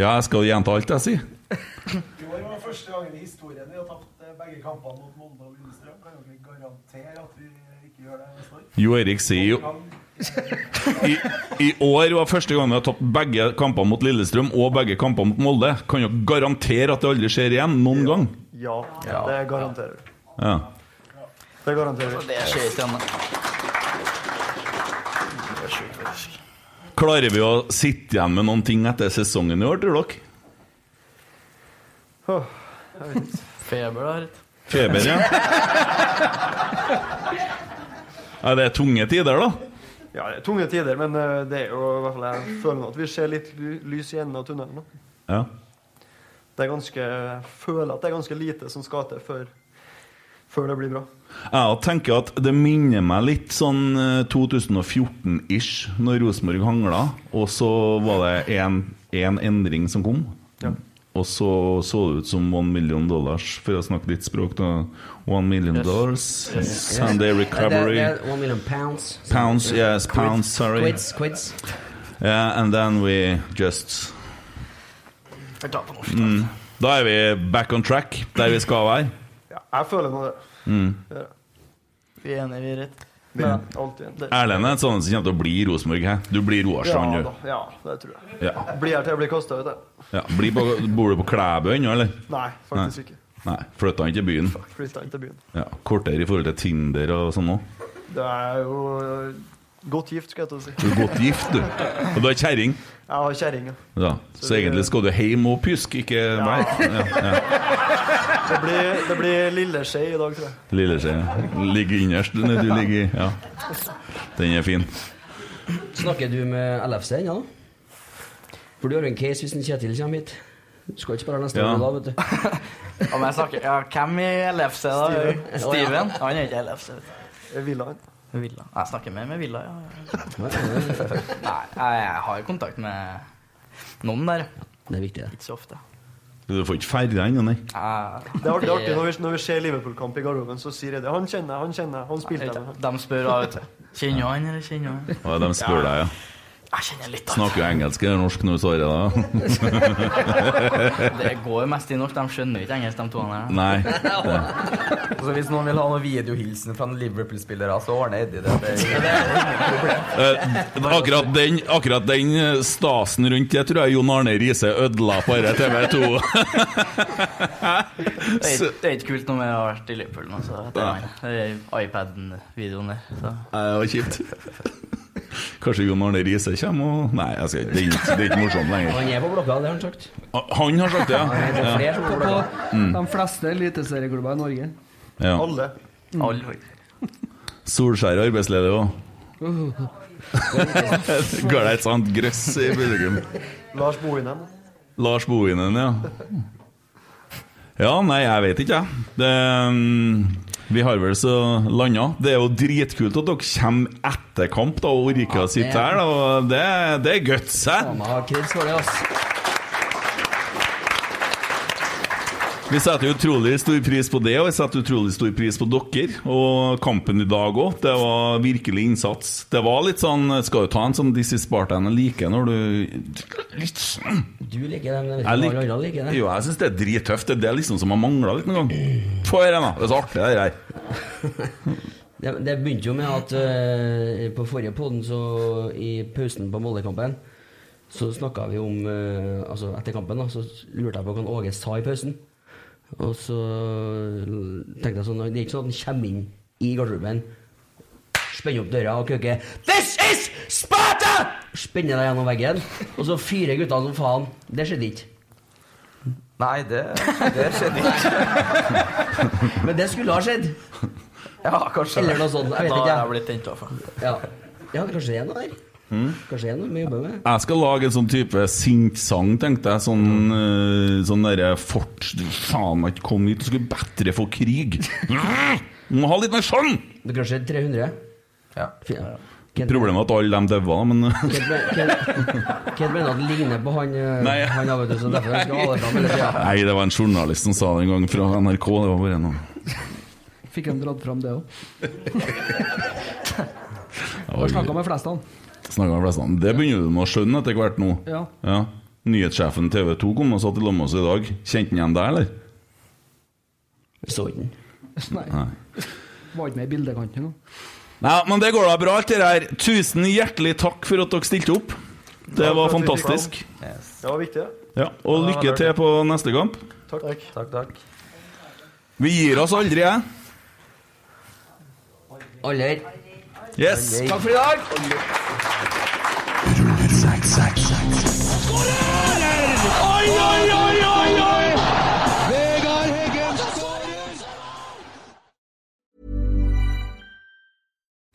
C: Ja, jeg skal gjenta alt jeg sier.
B: I år var det første gangen i historien vi har tapt eh, begge kampene mot Molde og Lillestrøm. Kan dere garantere at vi ikke gjør det neste år?
C: Jo Erik sier jo I, I år var første gang vi har tapt begge kampene mot Lillestrøm og begge kampene mot Molde. Kan dere garantere at det aldri skjer igjen? Noen gang?
G: Ja, det garanterer du.
C: Ja.
G: Det garanterer
H: Altså,
G: du.
I: Det skjer ikke ennå.
C: Klarer vi å sitte igjen med noen ting etter sesongen i år, tror dere?
I: Feber, da, Harrit.
C: Feber, ja. Er det tunge tider, da?
G: Ja, det er tunge tider, men eh, det er jo i hvert fall jeg føler nå at vi ser litt ly- lys i enden av tunnelen. nå.
C: Ja.
G: Det er ganske, jeg føler at det er ganske lite som skal til før, før det blir bra.
C: Jeg tenker at det minner meg litt sånn eh, 2014-ish, når Rosenborg hangla, og så var det en, en endring som kom. Og så så det ut som one million dollars, for å snakke ditt språk. da One million dollars, Sunday recovery
D: Det, det, er one million pounds.
C: Pounds, yes, pounds, sorry.
D: Quids, quids.
C: Yeah, and then we just
I: Jeg tar på norsk.
C: mm, Da er vi back on track, der vi skal være.
G: Jeg føler nå det.
C: Mm.
G: Det er det.
I: Vi er enige, vi er rett.
G: Vi er alltid enige.
C: Erlend er en sånn som kommer til å bli i Rosenborg. hæ? Du blir Roarstrand,
G: Ja,
C: du.
G: da, ja, det tror jeg.
C: Ja.
G: Blir her til jeg blir kasta ut, jeg.
C: Ja, blir på, bor du på Klæbu ennå, eller?
G: Nei, faktisk ikke.
C: Nei, Flytta han til byen?
G: Flytta inn til byen.
C: Ja, Kortere i forhold til Tinder og sånn òg?
G: Det er jo eh, godt gift, skal jeg til å si.
C: Du er godt gift, du. Og du har kjerring?
G: Jeg har kjerring, ja.
C: Ja. Så egentlig skal du hjem og pjuske, ikke meg? Ja, ja.
G: Det blir, det blir lilleskje i dag, tror jeg.
C: Lilleskje ligger innerst. den er Du ligger i. Ja. Den er fin.
D: Snakker du med LFC ennå? da? For du har jo en case hvis en Kjetil kommer hit. Du skal ikke spille neste
C: Ja.
D: år da, vet du.
I: Om jeg snakker Ja, hvem i LFC, da?
D: Steven.
I: Steven? Han er ikke LFC. vet du.
G: Villaen.
I: Villa. Jeg snakker mer med Villa, ja. Nei, jeg har kontakt med noen der.
D: Det er viktig, det.
I: Ikke så ofte.
C: Du får ikke ferdig ennå, nei?
G: Det er artig, artig når, vi, når vi ser Liverpool-kamp i garderoben, så sier jeg det. Han kjenner jeg, han kjenner jeg, han spilte jeg med.
I: De spør da,
C: *laughs*
I: vet du. Kjenner han, eller kjenner han?
C: Ja, de spør deg, ja.
I: Jeg kjenner litt, da.
C: Snakker jo engelsk eller norsk nå, svarer jeg da?
I: *laughs* Det går mest i norsk. De skjønner ikke engelsk, de to her.
C: Nei.
H: Så Altså, hvis noen vil ha noen videohilsen fra en Liverpool-spillere, så ordner Eddie det. det, er- det er
C: Eh, akkurat, den, akkurat den eh, stasen rundt det tror jeg Jon Arne Riise ødela på dette TV 2.
I: Det er, det er ikke kult når vi har vært i Liverpool nå, så det er, det er iPaden-videoen der. Så.
C: Nei, det var kjipt. Kanskje Jon Arne Riise kommer og Nei, jeg skal, ikke- det, er ikke, det er ikke morsomt lenger.
D: Han er på blokka, det har han sagt.
C: Ah, Han har sagt det,
D: Det er
C: ja.
D: flere
C: ja.
D: som
E: På,
D: går
E: på
D: blokka.
C: Mm.
E: de fleste eliteserieklubber i Norge. Mm.
C: ja.
G: Alle.
C: Solskjær er arbeidsledig òg. Ga deg et sånt grøss i publikum.
G: Lars Bohinen.
C: Lars Bohinen, ja. Ja, nei, jeg vet ikke, jeg. Det, mm, Vi har vel så landa. Det er jo dritkult at dere kommer etter kamp da, og orker å sitte her. Da. og Det, det er guts, hæ?
D: Mamma har kreds for det, ass.
C: Vi setter jo utrolig stor pris på det, og vi setter utrolig stor pris på dere. Og kampen i dag òg. Det var virkelig innsats. Det var litt sånn Skal du ta en sånn This is Spartan jeg liker når du Litt sånn.
D: Du liker den, men jeg vet ikke
C: Jeg
D: om
C: lik-
D: alle andre liker den.
C: Jo, jeg syns det er drittøft. Det er det liksom som har mangla litt noen gang. Få høre, da. Det er så artig, det her.
D: Det, det begynte jo med at eh, på forrige podden, så i pausen på Moldekampen, så snakka vi om eh, Altså etter kampen, da, så lurte jeg på hva han Åge sa i pausen. Og så tenkte jeg sånn Det er ikke sånn at han kommer inn i garderoben, spenner opp døra og køker 'This is Sparta!' Spenner deg gjennom veggen, og så fyrer gutta som faen. Det skjedde ikke.
H: Nei, det, det skjedde ikke.
D: *laughs* Men det skulle ha skjedd.
H: Ja, kanskje.
D: Eller noe sånt. Jeg vet
I: Da
D: ikke.
I: har
D: jeg.
I: jeg blitt tent av.
D: Ja. ja, kanskje det er noe der. Kanskje det er noe vi jobber med.
C: Jeg skal lage en sånn type sinnsang, tenkte jeg.
E: Mm.
C: Sånn, eh, sånn derre fort... Du faen meg ikke kom hit, du skulle bedre få krig. Du Må ha litt mer sånn!
D: Det er kanskje 300?
H: Ja.
C: Problemet er at alle de daua, men *laughs*
D: Hvem mener at det ligner på han eh,
C: Nei.
D: Han har vet du, så derfor skal han ha det fram hele tida.
C: Nei, det var en journalist som sa det en gang fra NRK. Det var bare noe
E: Fikk han dratt fram det
C: *laughs*
E: òg.
C: Oi.
E: Har snakka med flest av han.
C: Snakket med flestene. Det begynner du med å skjønne etter hvert nå.
E: Ja.
C: Nyhetssjefen TV 2 kom og satt i lag med oss i dag. Kjente han igjen deg, eller?
D: Så ikke han.
E: Nei.
C: Nei.
E: Var ikke med i bildekanten nå.
C: Nei, men det går da bra, alt det der. Tusen hjertelig takk for at dere stilte opp. Det var fantastisk.
G: Det var viktig, det.
C: Ja, og
G: Ja, det var
C: lykke til
G: veldig.
C: på neste kamp.
G: Takk. Takk, takk.
C: Vi gir oss aldri, jeg.
D: Aller.
C: Yes.
D: Takk for i dag.
J: Oi, oi, oi, oi, oi! Vegard Heggen